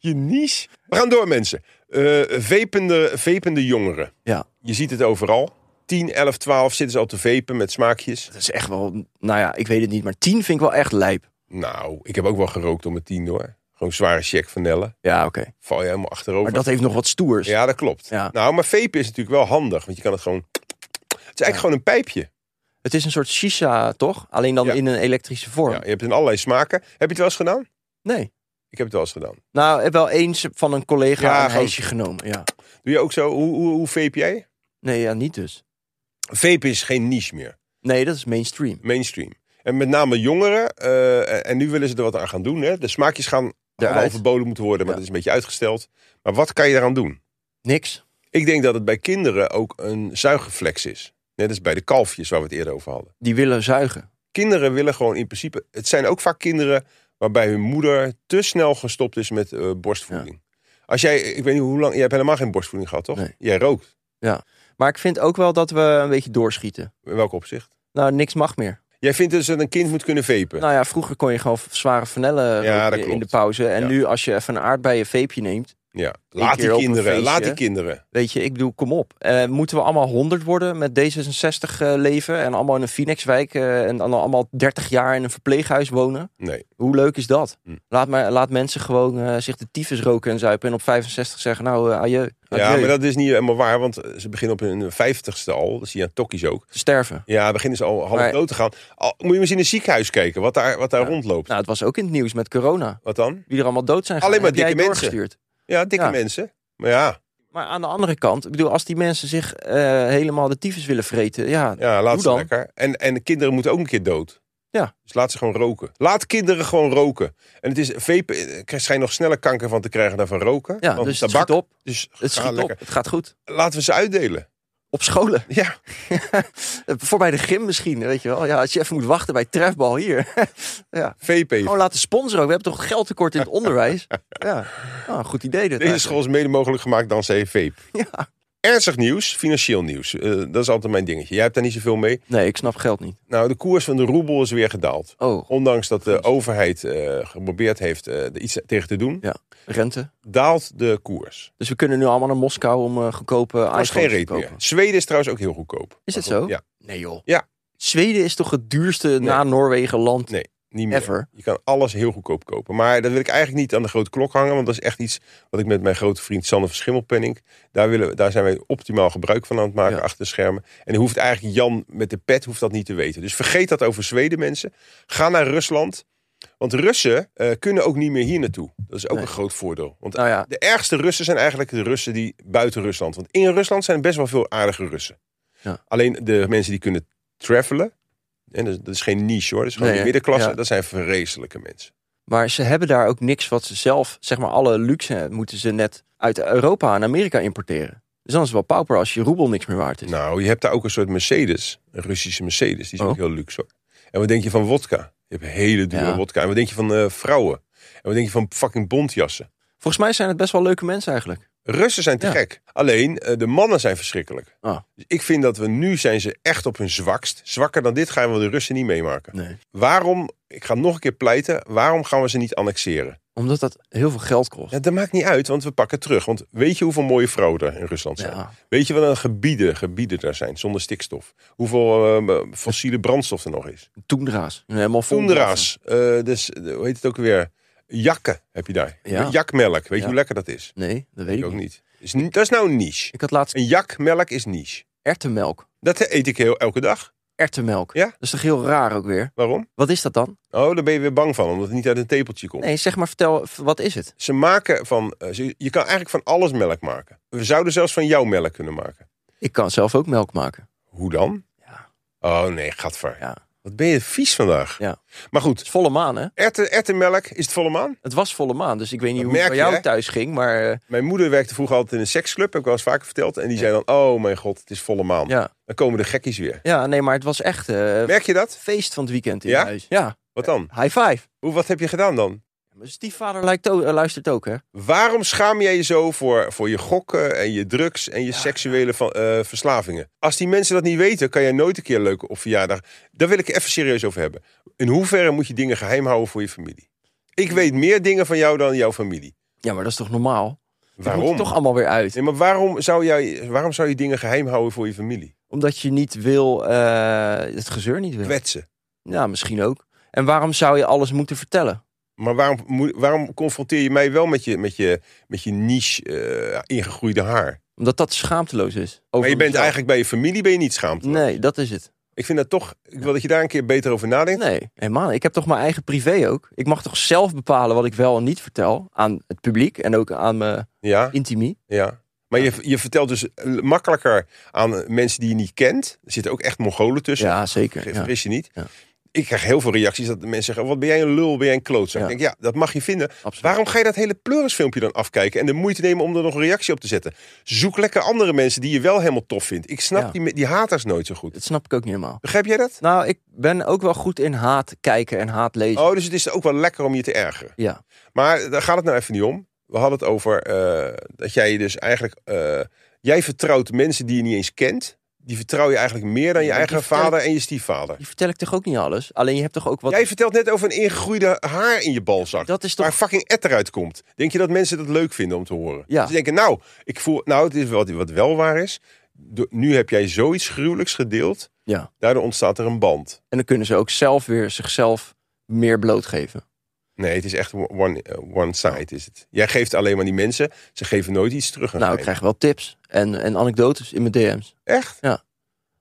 [SPEAKER 2] Je niche? We gaan door mensen. Eh, vepende, vepende jongeren.
[SPEAKER 3] ja.
[SPEAKER 2] Je ziet het overal. 10, 11, 12 zitten ze al te vepen met smaakjes.
[SPEAKER 3] Dat is echt wel, nou ja, ik weet het niet, maar 10 vind ik wel echt lijp.
[SPEAKER 2] Nou, ik heb ook wel gerookt om mijn 10 hoor. Gewoon zware check van Nelle.
[SPEAKER 3] Ja, oké.
[SPEAKER 2] Val je helemaal achterover.
[SPEAKER 3] Maar dat heeft nog wat stoers.
[SPEAKER 2] Ja, dat klopt.
[SPEAKER 3] Ja.
[SPEAKER 2] Nou, maar vapen is natuurlijk wel handig. Want je kan het gewoon... Het is eigenlijk gewoon een pijpje.
[SPEAKER 3] Het is een soort shisha, toch? Alleen dan
[SPEAKER 2] Ja.
[SPEAKER 3] in een elektrische vorm.
[SPEAKER 2] Ja, je hebt het in allerlei smaken. Heb je het wel eens gedaan?
[SPEAKER 3] Nee.
[SPEAKER 2] Ik heb het wel eens gedaan.
[SPEAKER 3] Nou, ik heb wel eens van een collega
[SPEAKER 2] Ja,
[SPEAKER 3] een
[SPEAKER 2] gewoon-
[SPEAKER 3] hijsje genomen. Ja.
[SPEAKER 2] Doe je ook zo? Hoe, hoe, hoe vape jij?
[SPEAKER 3] Nee, ja, niet dus.
[SPEAKER 2] Vape is geen niche meer.
[SPEAKER 3] Nee, dat is mainstream.
[SPEAKER 2] Mainstream. En met name jongeren. eh, en nu willen ze er wat aan gaan doen. Hè? De smaakjes gaan
[SPEAKER 3] Eruit.
[SPEAKER 2] al verboden moeten worden. Maar
[SPEAKER 3] Ja.
[SPEAKER 2] dat is een beetje uitgesteld. Maar wat kan je daaraan doen?
[SPEAKER 3] Niks.
[SPEAKER 2] Ik denk dat het bij kinderen ook een zuigreflex is. Net als bij de kalfjes waar we het eerder over hadden.
[SPEAKER 3] Die willen zuigen.
[SPEAKER 2] kinderen willen gewoon in principe. Het zijn ook vaak kinderen waarbij hun moeder te snel gestopt is met eh, borstvoeding. Als jij, ik weet niet hoe lang, jij hebt helemaal geen borstvoeding gehad, toch?
[SPEAKER 3] Nee.
[SPEAKER 2] Jij rookt.
[SPEAKER 3] Maar ik vind ook wel dat we een beetje doorschieten.
[SPEAKER 2] In welk opzicht?
[SPEAKER 3] Nou, niks mag meer.
[SPEAKER 2] Jij vindt dus dat een kind moet kunnen vepen.
[SPEAKER 3] Nou ja, vroeger kon je gewoon zware vanellen
[SPEAKER 2] Ja, dat
[SPEAKER 3] roken in
[SPEAKER 2] klopt.
[SPEAKER 3] de pauze. En
[SPEAKER 2] Ja.
[SPEAKER 3] nu als je even een aardbeien veepje neemt,
[SPEAKER 2] ja. Laat
[SPEAKER 3] keer
[SPEAKER 2] die
[SPEAKER 3] op een
[SPEAKER 2] kinderen,
[SPEAKER 3] feestje.
[SPEAKER 2] laat die kinderen.
[SPEAKER 3] weet je, ik bedoel, kom op. Eh, moeten we allemaal 100 worden met D66 eh, leven en allemaal in een Phoenixwijk eh, en dan allemaal 30 jaar in een verpleeghuis wonen?
[SPEAKER 2] Nee.
[SPEAKER 3] Hoe leuk is dat?
[SPEAKER 2] Hm.
[SPEAKER 3] Laat, maar, laat mensen gewoon eh, zich de tyfus roken en zuipen en op 65 zeggen, nou, eh adieu.
[SPEAKER 2] Ja,
[SPEAKER 3] adieu,
[SPEAKER 2] maar dat is niet helemaal waar, want eh, ze beginnen op hun vijftigste al. Dat zie je aan tokkies ook.
[SPEAKER 3] te sterven.
[SPEAKER 2] Ja, beginnen ze al half
[SPEAKER 3] Maar-
[SPEAKER 2] dood te gaan. Al, moet je maar eens in een ziekenhuis kijken, wat daar, wat daar
[SPEAKER 3] Ja.
[SPEAKER 2] rondloopt.
[SPEAKER 3] Nou, het was ook in het nieuws met corona.
[SPEAKER 2] Wat dan?
[SPEAKER 3] Wie er allemaal dood zijn
[SPEAKER 2] Alleen
[SPEAKER 3] gegaan.
[SPEAKER 2] maar
[SPEAKER 3] Heb jij
[SPEAKER 2] dikke mensen.
[SPEAKER 3] doorgestuurd?
[SPEAKER 2] Ja, dikke
[SPEAKER 3] Ja.
[SPEAKER 2] mensen. Maar ja,
[SPEAKER 3] Maar aan de andere kant, ik bedoel, als die mensen zich eh, helemaal de tyfus willen vreten, ja,
[SPEAKER 2] Ja, laat
[SPEAKER 3] Doe
[SPEAKER 2] ze
[SPEAKER 3] dan.
[SPEAKER 2] lekker. En, en de kinderen moeten ook een keer dood.
[SPEAKER 3] Ja.
[SPEAKER 2] Dus laat ze gewoon roken. Laat kinderen gewoon roken. En het is vapen, eh, krijg je nog sneller kanker van te krijgen dan van roken.
[SPEAKER 3] ja
[SPEAKER 2] dan
[SPEAKER 3] dus het
[SPEAKER 2] tabak.
[SPEAKER 3] schiet op.
[SPEAKER 2] Dus
[SPEAKER 3] Het
[SPEAKER 2] ga
[SPEAKER 3] schiet op.
[SPEAKER 2] lekker.
[SPEAKER 3] Het gaat goed.
[SPEAKER 2] Laten we ze uitdelen.
[SPEAKER 3] Op scholen.
[SPEAKER 2] Ja.
[SPEAKER 3] *laughs* Voor bij de gym misschien, weet je wel. Ja, als je even moet wachten bij trefbal hier. *laughs* ja.
[SPEAKER 2] VP.
[SPEAKER 3] Gewoon laten sponsoren. ook. We hebben toch geldtekort in het onderwijs. ja, nou, goed idee dit.
[SPEAKER 2] Deze
[SPEAKER 3] eigenlijk.
[SPEAKER 2] school is mede mogelijk gemaakt dankzij vape.
[SPEAKER 3] *laughs* Ja.
[SPEAKER 2] Ernstig nieuws, financieel nieuws. Eh, dat is altijd mijn dingetje. Jij hebt daar niet zoveel mee.
[SPEAKER 3] Nee, ik snap geld niet.
[SPEAKER 2] Nou, de koers van de roebel is weer gedaald.
[SPEAKER 3] Oh,
[SPEAKER 2] Ondanks dat de overheid eh, geprobeerd heeft eh, er iets tegen te doen,
[SPEAKER 3] ja, rente.
[SPEAKER 2] daalt de koers.
[SPEAKER 3] Dus we kunnen nu allemaal naar Moskou om eh, goedkope
[SPEAKER 2] Er
[SPEAKER 3] iPhones
[SPEAKER 2] is geen
[SPEAKER 3] te
[SPEAKER 2] reet meer.
[SPEAKER 3] kopen.
[SPEAKER 2] Zweden is trouwens ook heel goedkoop.
[SPEAKER 3] Is het
[SPEAKER 2] Maar
[SPEAKER 3] zo?
[SPEAKER 2] goed, Ja,
[SPEAKER 3] Nee joh.
[SPEAKER 2] Ja.
[SPEAKER 3] Zweden is toch het duurste na Noorwegen land
[SPEAKER 2] Nee, niet meer.
[SPEAKER 3] Ever.
[SPEAKER 2] Je kan alles heel goedkoop kopen. Maar dat wil ik eigenlijk niet aan de grote klok hangen. Want dat is echt iets wat ik met mijn grote vriend Sander van Schimmelpenning. Daar, willen, we- daar zijn wij optimaal gebruik van aan het maken
[SPEAKER 3] Ja.
[SPEAKER 2] achter de schermen. En dan hoeft eigenlijk Jan met de pet hoeft dat niet te weten. Dus vergeet dat over Zweden mensen. Ga naar Rusland. Want Russen eh, kunnen ook niet meer hier naartoe. Dat is ook
[SPEAKER 3] Nee.
[SPEAKER 2] een groot voordeel. Want
[SPEAKER 3] Nou ja.
[SPEAKER 2] de ergste Russen zijn eigenlijk de Russen die buiten Rusland. Want in Rusland zijn best wel veel aardige Russen.
[SPEAKER 3] Ja.
[SPEAKER 2] Alleen de mensen die kunnen travelen. En dat, is- dat is geen niche hoor. Dat is gewoon
[SPEAKER 3] Nee,
[SPEAKER 2] de middenklasse.
[SPEAKER 3] ja.
[SPEAKER 2] Dat zijn vreselijke mensen.
[SPEAKER 3] Maar ze hebben daar ook niks wat ze zelf, zeg maar alle luxe moeten ze net uit Europa en Amerika importeren. Dus dan is het wel pauper als je roebel niks meer waard is.
[SPEAKER 2] Nou, je hebt daar ook een soort Mercedes. Een Russische Mercedes. Die is
[SPEAKER 3] Oh.
[SPEAKER 2] ook heel luxe hoor. En wat denk je van wodka? Je hebt hele dure
[SPEAKER 3] Ja.
[SPEAKER 2] wodka. En wat denk je van eh, vrouwen? En wat denk je van fucking bontjassen?
[SPEAKER 3] Volgens mij zijn het best wel leuke mensen eigenlijk.
[SPEAKER 2] Russen zijn te
[SPEAKER 3] Ja.
[SPEAKER 2] gek. Alleen, eh, de mannen zijn verschrikkelijk.
[SPEAKER 3] Ah.
[SPEAKER 2] Dus ik vind dat we nu zijn ze echt op hun zwakst. Zwakker dan dit gaan we de Russen niet meemaken.
[SPEAKER 3] Nee.
[SPEAKER 2] Waarom, ik ga nog een keer pleiten, waarom gaan we ze niet annexeren?
[SPEAKER 3] Omdat dat heel veel geld kost.
[SPEAKER 2] Ja, dat maakt niet uit, want we pakken het terug. Want weet je hoeveel mooie vrouwen er in Rusland zijn?
[SPEAKER 3] Ja.
[SPEAKER 2] Weet je wat een gebieden, gebieden daar zijn zonder stikstof? Hoeveel eh, fossiele brandstof er nog is?
[SPEAKER 3] Toendra's. Helemaal vol.
[SPEAKER 2] Toendera's, eh, dus eh, hoe heet het ook weer? Jakken heb je daar.
[SPEAKER 3] Ja.
[SPEAKER 2] Jakmelk, weet je
[SPEAKER 3] Ja.
[SPEAKER 2] hoe lekker dat is?
[SPEAKER 3] Nee, dat weet
[SPEAKER 2] Ik
[SPEAKER 3] ik
[SPEAKER 2] ook
[SPEAKER 3] niet.
[SPEAKER 2] niet. Is, ni- dat is nou een niche.
[SPEAKER 3] Ik had laatst
[SPEAKER 2] Een jakmelk is niche.
[SPEAKER 3] ertenmelk.
[SPEAKER 2] Dat eet ik heel, elke dag.
[SPEAKER 3] Ertenmelk.
[SPEAKER 2] Ja?
[SPEAKER 3] Dat is toch heel raar ook weer?
[SPEAKER 2] Waarom?
[SPEAKER 3] Wat is dat dan?
[SPEAKER 2] Oh, daar ben je weer bang van, omdat het niet uit een tepeltje komt.
[SPEAKER 3] Nee, zeg maar, vertel, v- wat is het?
[SPEAKER 2] Ze maken van, eh, ze- je kan eigenlijk van alles melk maken. We zouden zelfs van jouw melk kunnen maken.
[SPEAKER 3] Ik kan zelf ook melk maken.
[SPEAKER 2] Hoe dan?
[SPEAKER 3] Ja.
[SPEAKER 2] Oh nee, gadver.
[SPEAKER 3] Ja. Het
[SPEAKER 2] Wat ben je vies vandaag.
[SPEAKER 3] Ja.
[SPEAKER 2] Maar goed,
[SPEAKER 3] is volle maan, hè?
[SPEAKER 2] erwten- erwtenmelk, is het volle maan?
[SPEAKER 3] Het was volle maan, dus ik weet niet
[SPEAKER 2] Dat
[SPEAKER 3] hoe het
[SPEAKER 2] merk je,
[SPEAKER 3] bij jou
[SPEAKER 2] hè?
[SPEAKER 3] thuis ging, maar eh,
[SPEAKER 2] Mijn moeder werkte vroeger altijd in een seksclub, heb ik wel eens vaker verteld. En die zei dan, oh mijn god, het is volle maan.
[SPEAKER 3] ja.
[SPEAKER 2] Dan komen de gekkies weer.
[SPEAKER 3] Ja, nee, maar het was echt eh
[SPEAKER 2] Merk je dat?
[SPEAKER 3] feest van het weekend in
[SPEAKER 2] Ja?
[SPEAKER 3] huis. Ja.
[SPEAKER 2] Wat dan?
[SPEAKER 3] High five.
[SPEAKER 2] Hoe, wat heb je gedaan dan?
[SPEAKER 3] Mijn stiefvader lijkt ook, eh, luistert ook, hè?
[SPEAKER 2] Waarom schaam jij je zo voor, voor je gokken en je drugs en je seksuele van, eh, verslavingen? Als die mensen dat niet weten, kan jij nooit een keer leuk op verjaardag. Daar wil ik even serieus over hebben. In hoeverre moet je dingen geheim houden voor je familie? Ik weet meer dingen van jou dan jouw familie.
[SPEAKER 3] Ja, maar dat is toch normaal? Dat moet
[SPEAKER 2] Waarom?
[SPEAKER 3] er toch allemaal weer uit.
[SPEAKER 2] Nee, maar waarom zou, jij, waarom zou je dingen geheim houden voor je familie?
[SPEAKER 3] Omdat je niet wil, eh, het gezeur niet wil.
[SPEAKER 2] Kwetsen.
[SPEAKER 3] Ja, misschien ook. En waarom zou je alles moeten vertellen?
[SPEAKER 2] Maar waarom, moet- waarom confronteer je mij wel met je, met je, met je niche eh, ingegroeide haar?
[SPEAKER 3] Omdat dat schaamteloos is. Over
[SPEAKER 2] Maar je bent
[SPEAKER 3] mezelf.
[SPEAKER 2] eigenlijk bij je familie ben je niet schaamd.
[SPEAKER 3] Nee, dat is het.
[SPEAKER 2] Ik vind dat toch. Ik wil dat je daar een keer beter over nadenkt.
[SPEAKER 3] Nee, helemaal niet. Ik heb toch mijn eigen privé ook. Ik mag toch zelf bepalen wat ik wel en niet vertel aan het publiek en ook aan mijn
[SPEAKER 2] Ja,
[SPEAKER 3] intimie.
[SPEAKER 2] ja. Maar je, je vertelt dus makkelijker aan eh, mensen die je niet kent. Er zitten ook echt Mongolen tussen.
[SPEAKER 3] Ja, zeker.
[SPEAKER 2] Ver-
[SPEAKER 3] Ja.
[SPEAKER 2] Vergis je niet.
[SPEAKER 3] Ja.
[SPEAKER 2] Ik krijg heel veel reacties dat de mensen zeggen: "Oh, Wat ben jij een lul? Ben jij een klootzak?
[SPEAKER 3] Ja.
[SPEAKER 2] Ik denk, ja, dat mag je vinden.
[SPEAKER 3] Absoluut.
[SPEAKER 2] Waarom ga je dat hele pleurisfilmpje dan afkijken en de moeite nemen om er nog een reactie op te zetten? Zoek lekker andere mensen die je wel helemaal tof vindt. Ik snap
[SPEAKER 3] Ja.
[SPEAKER 2] die, me- die haters nooit zo goed.
[SPEAKER 3] Dat snap ik ook niet helemaal.
[SPEAKER 2] Begrijp jij dat?
[SPEAKER 3] Nou, ik ben ook wel goed in haat kijken en haat lezen.
[SPEAKER 2] Oh, dus het is ook wel lekker om je te ergeren.
[SPEAKER 3] Ja.
[SPEAKER 2] Maar daar gaat het nou even niet om. We hadden het over eh, dat jij je dus eigenlijk... eh, jij vertrouwt mensen die je niet eens kent. Die vertrouw je eigenlijk meer dan je
[SPEAKER 3] Ja,
[SPEAKER 2] eigen
[SPEAKER 3] die vertel-
[SPEAKER 2] vader en je stiefvader.
[SPEAKER 3] Je vertel ik toch ook niet alles? Alleen je hebt toch ook wat...
[SPEAKER 2] Jij vertelt net over een ingegroeide haar in je balzak.
[SPEAKER 3] Dat is toch-
[SPEAKER 2] Waar fucking etter uit komt. Denk je dat mensen dat leuk vinden om te horen?
[SPEAKER 3] Ja.
[SPEAKER 2] Ze denken, nou, ik voel, nou het is wat, wat wel waar is. Do- nu heb jij zoiets gruwelijks gedeeld.
[SPEAKER 3] Ja.
[SPEAKER 2] Daardoor ontstaat er een band.
[SPEAKER 3] En dan kunnen ze ook zelf weer zichzelf meer blootgeven.
[SPEAKER 2] Nee, het is echt one, eh, one side is het. Jij geeft alleen maar die mensen. Ze geven nooit iets terug aan
[SPEAKER 3] Nou, ik
[SPEAKER 2] mij.
[SPEAKER 3] krijg wel tips en, en anekdotes in mijn DM's.
[SPEAKER 2] Echt?
[SPEAKER 3] Ja.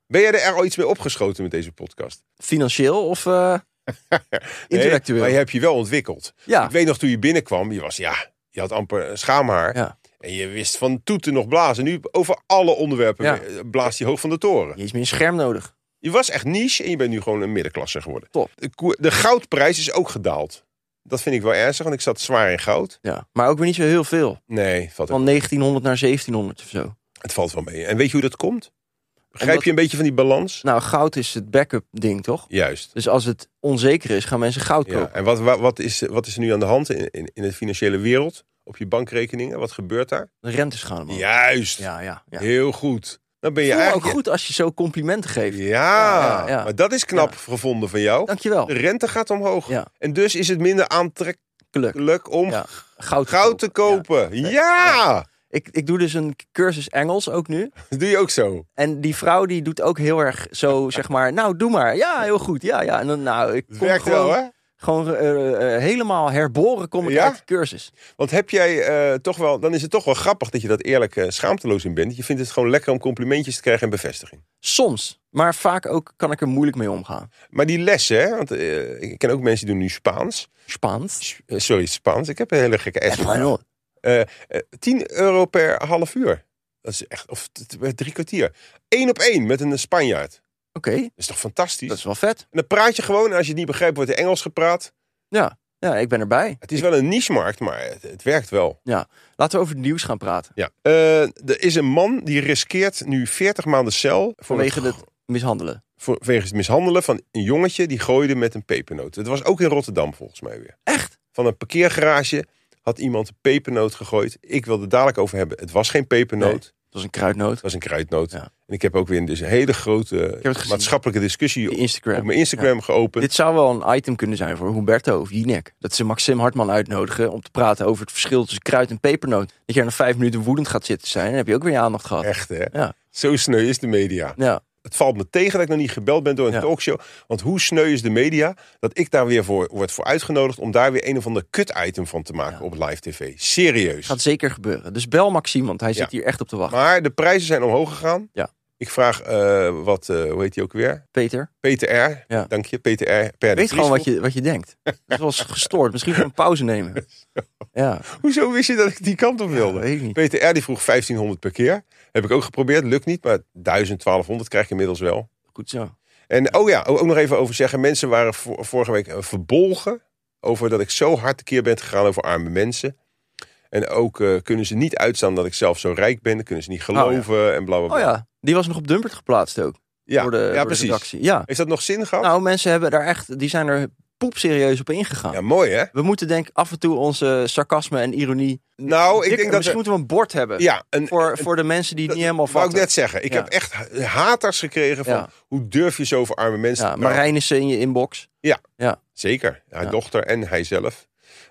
[SPEAKER 2] Ben jij er al iets mee opgeschoten met deze podcast?
[SPEAKER 3] Financieel of eh,
[SPEAKER 2] *laughs* Nee,
[SPEAKER 3] intellectueel?
[SPEAKER 2] maar je hebt je wel ontwikkeld.
[SPEAKER 3] Ja,
[SPEAKER 2] Ik weet nog toen je binnenkwam, je was ja, je had amper een schaamhaar.
[SPEAKER 3] Ja.
[SPEAKER 2] En je wist van toeten nog blazen. Nu over alle onderwerpen
[SPEAKER 3] Ja.
[SPEAKER 2] eh, blaast je hoog van de toren.
[SPEAKER 3] je is meer een scherm nodig.
[SPEAKER 2] Je was echt niche en je bent nu gewoon een middenklasse geworden.
[SPEAKER 3] Top.
[SPEAKER 2] De, koer- de goudprijs is ook gedaald. Dat vind ik wel ernstig, want ik zat zwaar in goud.
[SPEAKER 3] Ja. Maar ook weer niet zo heel veel.
[SPEAKER 2] Nee, valt ook-
[SPEAKER 3] Van 1900 naar 1700 of zo.
[SPEAKER 2] het valt wel mee. En weet je hoe dat komt? Begrijp
[SPEAKER 3] Omdat-
[SPEAKER 2] je een beetje van die balans?
[SPEAKER 3] Nou, goud is het backup ding, toch?
[SPEAKER 2] Juist.
[SPEAKER 3] Dus als het onzeker is, gaan mensen goud kopen.
[SPEAKER 2] Ja, en wat, wat, wat, is, wat is er nu aan de hand in, in, in de financiële wereld? Op je bankrekeningen? Wat gebeurt daar?
[SPEAKER 3] De rentes gaan omhoog.
[SPEAKER 2] Juist.
[SPEAKER 3] ja, ja. ja.
[SPEAKER 2] Heel goed. Dan ben je
[SPEAKER 3] Voel ook
[SPEAKER 2] eigenlijk...
[SPEAKER 3] goed als je zo complimenten geeft.
[SPEAKER 2] Ja,
[SPEAKER 3] Ja, ja, ja.
[SPEAKER 2] maar dat is knap gevonden van jou.
[SPEAKER 3] Dankjewel.
[SPEAKER 2] De rente gaat omhoog.
[SPEAKER 3] Ja.
[SPEAKER 2] En dus is het minder aantrekkelijk
[SPEAKER 3] Geluk.
[SPEAKER 2] om
[SPEAKER 3] Ja. Goud,
[SPEAKER 2] goud te
[SPEAKER 3] Ja.
[SPEAKER 2] kopen. Ja,
[SPEAKER 3] Ik, ik doe dus een cursus Engels ook nu.
[SPEAKER 2] dat doe je ook zo.
[SPEAKER 3] En die vrouw die doet ook heel erg
[SPEAKER 2] *laughs*
[SPEAKER 3] zo, zeg maar, nou doe maar. Ja, heel goed. Ja, ja. En dan, nou, ik
[SPEAKER 2] Het
[SPEAKER 3] kom
[SPEAKER 2] werkt
[SPEAKER 3] gewoon,
[SPEAKER 2] wel, hè?
[SPEAKER 3] gewoon eh, eh, helemaal herboren kom ik
[SPEAKER 2] Ja?
[SPEAKER 3] uit die cursus.
[SPEAKER 2] Want heb jij eh, toch wel... Dan is het toch wel grappig dat je dat eerlijk eh, schaamteloos in bent. Je vindt het gewoon lekker om complimentjes te krijgen en bevestiging.
[SPEAKER 3] Soms. Maar vaak ook kan ik er moeilijk mee omgaan.
[SPEAKER 2] Maar die lessen, hè? Want eh, ik ken ook mensen die doen nu Spaans.
[SPEAKER 3] Spaans.
[SPEAKER 2] S- eh, sorry, Spaans. Ik heb een hele gekke S.
[SPEAKER 3] Español.
[SPEAKER 2] Eh, eh, 10 euro per half uur. Dat is echt, of t- t- drie kwartier. Eén op één met een eh, Spanjaard. Dat
[SPEAKER 3] Oké,
[SPEAKER 2] is toch fantastisch?
[SPEAKER 3] dat is wel vet.
[SPEAKER 2] En dan praat je gewoon, en als je het niet begrijpt, wordt in Engels gepraat.
[SPEAKER 3] Ja. Ja, ik ben erbij.
[SPEAKER 2] Het is wel een niche-markt, maar het, het werkt wel.
[SPEAKER 3] Ja. Laten we over het nieuws gaan praten.
[SPEAKER 2] Ja. Eh, er is een man die riskeert nu 40 maanden cel voor
[SPEAKER 3] Vanwege
[SPEAKER 2] het,
[SPEAKER 3] het mishandelen.
[SPEAKER 2] voor, wegens het mishandelen van een jongetje die gooide met een pepernoot. Het was ook in Rotterdam volgens mij weer.
[SPEAKER 3] Echt?
[SPEAKER 2] Van een parkeergarage had iemand een pepernoot gegooid. Ik wil het dadelijk over hebben. Het was geen pepernoot,
[SPEAKER 3] Nee.
[SPEAKER 2] het
[SPEAKER 3] Dat was een kruidnoot.
[SPEAKER 2] was een kruidnoot.
[SPEAKER 3] Ja.
[SPEAKER 2] En ik heb ook weer dus een hele grote
[SPEAKER 3] het gezien.
[SPEAKER 2] maatschappelijke discussie
[SPEAKER 3] Die
[SPEAKER 2] op,
[SPEAKER 3] Instagram.
[SPEAKER 2] op mijn Instagram geopend.
[SPEAKER 3] Dit zou wel een item kunnen zijn voor Humberto of Jinek. Dat ze Maxim Hartman uitnodigen om te praten over het verschil tussen kruid en pepernoot. Dat je er na vijf minuten woedend gaat zitten zijn. Dan heb je ook weer je aandacht gehad.
[SPEAKER 2] Echt hè?
[SPEAKER 3] Ja.
[SPEAKER 2] Zo sneu is de media.
[SPEAKER 3] Ja.
[SPEAKER 2] Het valt me tegen dat ik nog niet gebeld ben door een
[SPEAKER 3] Ja.
[SPEAKER 2] talkshow. Want hoe sneu is de media dat ik daar weer voor word voor uitgenodigd om daar weer een of ander kut-item van te maken op live tv. Serieus.
[SPEAKER 3] Gaat zeker gebeuren. Dus bel Maxime, want hij
[SPEAKER 2] Ja.
[SPEAKER 3] zit hier echt op te wachten.
[SPEAKER 2] Maar de prijzen zijn omhoog gegaan.
[SPEAKER 3] Ja.
[SPEAKER 2] Ik vraag eh, wat, eh, hoe heet die ook weer?
[SPEAKER 3] Peter,
[SPEAKER 2] Peter R.
[SPEAKER 3] Ja.
[SPEAKER 2] Dank je, Peter R. Per de
[SPEAKER 3] weet gewoon wat
[SPEAKER 2] Vriesel.
[SPEAKER 3] je, wat je denkt. Dat is wel eens gestoord. Misschien gewoon een
[SPEAKER 2] *laughs*
[SPEAKER 3] pauze nemen. Ja,
[SPEAKER 2] Hoezo wist je dat ik die kant op wilde?
[SPEAKER 3] weet ik niet.
[SPEAKER 2] Peter R. die vroeg 1500 per keer. Heb ik ook geprobeerd, lukt niet. Maar 1200 krijg je inmiddels wel.
[SPEAKER 3] Goed zo.
[SPEAKER 2] En oh ja, ook nog even over zeggen. Mensen waren vo- vorige week eh, verbolgen over dat ik zo hard tekeer ben gegaan over arme mensen. En ook eh, kunnen ze niet uitstaan dat ik zelf zo rijk ben. Dan kunnen ze niet geloven en bla bla bla.
[SPEAKER 3] Oh ja, die was nog op Dumpert geplaatst ook.
[SPEAKER 2] ja.
[SPEAKER 3] Door de,
[SPEAKER 2] ja,
[SPEAKER 3] door de
[SPEAKER 2] precies.
[SPEAKER 3] redactie. Ja.
[SPEAKER 2] Heeft dat nog zin gehad?
[SPEAKER 3] Nou, mensen hebben daar echt, die zijn er poepserieus op ingegaan.
[SPEAKER 2] ja, mooi hè?
[SPEAKER 3] We moeten denk ik af en toe onze sarcasme en ironie...
[SPEAKER 2] Nou, ik
[SPEAKER 3] Dikker-
[SPEAKER 2] denk dat...
[SPEAKER 3] Misschien
[SPEAKER 2] er-
[SPEAKER 3] moeten we een bord hebben.
[SPEAKER 2] Ja, een,
[SPEAKER 3] voor, voor de mensen die het niet helemaal
[SPEAKER 2] wou ik
[SPEAKER 3] vatten.
[SPEAKER 2] net zeggen. Ik
[SPEAKER 3] Ja.
[SPEAKER 2] heb echt ha- haters gekregen van...
[SPEAKER 3] Ja.
[SPEAKER 2] Hoe durf je zo over arme mensen
[SPEAKER 3] ja,
[SPEAKER 2] te praten?
[SPEAKER 3] Marijnissen in je inbox.
[SPEAKER 2] Zeker. Haar
[SPEAKER 3] Ja.
[SPEAKER 2] dochter en hij zelf.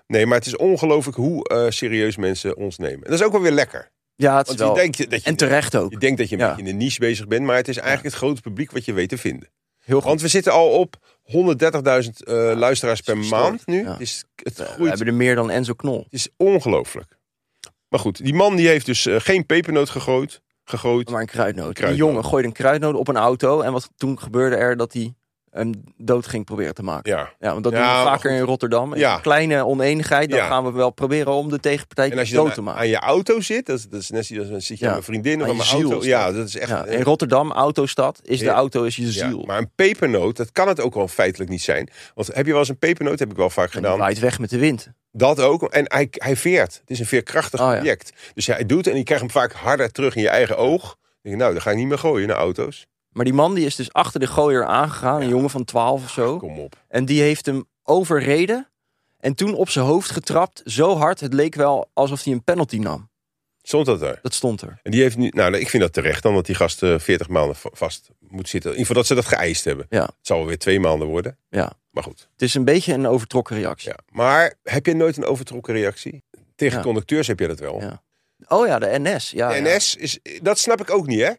[SPEAKER 2] Nee, maar het is ongelooflijk hoe eh, serieus mensen ons nemen. En dat is ook wel weer lekker.
[SPEAKER 3] Ja, het is
[SPEAKER 2] Want je
[SPEAKER 3] wel...
[SPEAKER 2] denkt dat je...
[SPEAKER 3] En terecht ook.
[SPEAKER 2] Je denkt dat je een
[SPEAKER 3] Ja.
[SPEAKER 2] beetje in de niche bezig bent, maar het is eigenlijk het grote publiek wat je weet te vinden.
[SPEAKER 3] Heel goed.
[SPEAKER 2] Want we zitten al op 130.000 eh, luisteraars per
[SPEAKER 3] verstoord.
[SPEAKER 2] maand nu.
[SPEAKER 3] Ja.
[SPEAKER 2] Het, is, het
[SPEAKER 3] We
[SPEAKER 2] groeit.
[SPEAKER 3] hebben er meer dan Enzo Knol.
[SPEAKER 2] Het is ongelooflijk. Maar goed, die man die heeft dus eh, geen pepernoot gegooid. gegooid.
[SPEAKER 3] Maar een kruidnoot. Een
[SPEAKER 2] Kruidnoot.
[SPEAKER 3] jongen gooide een kruidnoot op een auto. En wat toen gebeurde er dat hij hem dood ging proberen te maken.
[SPEAKER 2] Ja.
[SPEAKER 3] Ja, want dat
[SPEAKER 2] Ja,
[SPEAKER 3] doen we
[SPEAKER 2] maar
[SPEAKER 3] vaker
[SPEAKER 2] goed.
[SPEAKER 3] in Rotterdam. Is
[SPEAKER 2] Ja.
[SPEAKER 3] een kleine oneenigheid. Dan
[SPEAKER 2] Ja.
[SPEAKER 3] gaan we wel proberen om de tegenpartij
[SPEAKER 2] En als je
[SPEAKER 3] dood
[SPEAKER 2] dan
[SPEAKER 3] te
[SPEAKER 2] aan,
[SPEAKER 3] maken.
[SPEAKER 2] aan je auto zit, dat, is- dat is net zoals dan zit je
[SPEAKER 3] Ja.
[SPEAKER 2] aan mijn vriendin of
[SPEAKER 3] Aan
[SPEAKER 2] aan
[SPEAKER 3] je
[SPEAKER 2] mijn
[SPEAKER 3] ziel
[SPEAKER 2] auto.
[SPEAKER 3] is
[SPEAKER 2] Ja, dat is echt.
[SPEAKER 3] Ja,
[SPEAKER 2] eh,
[SPEAKER 3] in Rotterdam, autostad, is de
[SPEAKER 2] Ja.
[SPEAKER 3] auto is je
[SPEAKER 2] ja.
[SPEAKER 3] ziel.
[SPEAKER 2] Maar een pepernoot, dat kan het ook wel feitelijk niet zijn. Want heb je wel eens een pepernoot? Heb ik wel vaak
[SPEAKER 3] en die
[SPEAKER 2] gedaan.
[SPEAKER 3] waait weg met de wind.
[SPEAKER 2] Dat ook. En hij, hij veert. Het is een veerkrachtig
[SPEAKER 3] Oh, ja.
[SPEAKER 2] object. Dus hij doet en je krijgt hem vaak harder terug in je eigen oog. Dan denk je, nou, dan ga ik niet meer gooien naar auto's.
[SPEAKER 3] Maar die man die is dus achter de gooier aangegaan. Een jongen van 12 of zo.
[SPEAKER 2] Kom op.
[SPEAKER 3] En die heeft hem overreden. En toen op zijn hoofd getrapt. Zo hard, het leek wel alsof hij een penalty nam.
[SPEAKER 2] Stond dat er?
[SPEAKER 3] Dat stond er.
[SPEAKER 2] En die heeft nu, nou, ik vind dat terecht dan, dat die gast eh, 40 maanden va- vast moet zitten. In ieder geval dat ze dat geëist hebben.
[SPEAKER 3] Ja.
[SPEAKER 2] Het zal wel weer twee maanden worden.
[SPEAKER 3] Ja.
[SPEAKER 2] Maar goed.
[SPEAKER 3] Het is een beetje een overtrokken reactie.
[SPEAKER 2] Ja. Maar heb je nooit een overtrokken reactie? Tegen
[SPEAKER 3] Ja.
[SPEAKER 2] conducteurs heb je dat wel.
[SPEAKER 3] Ja. Oh ja, de NS. Ja,
[SPEAKER 2] De
[SPEAKER 3] ja.
[SPEAKER 2] NS is, dat snap ik ook niet, hè?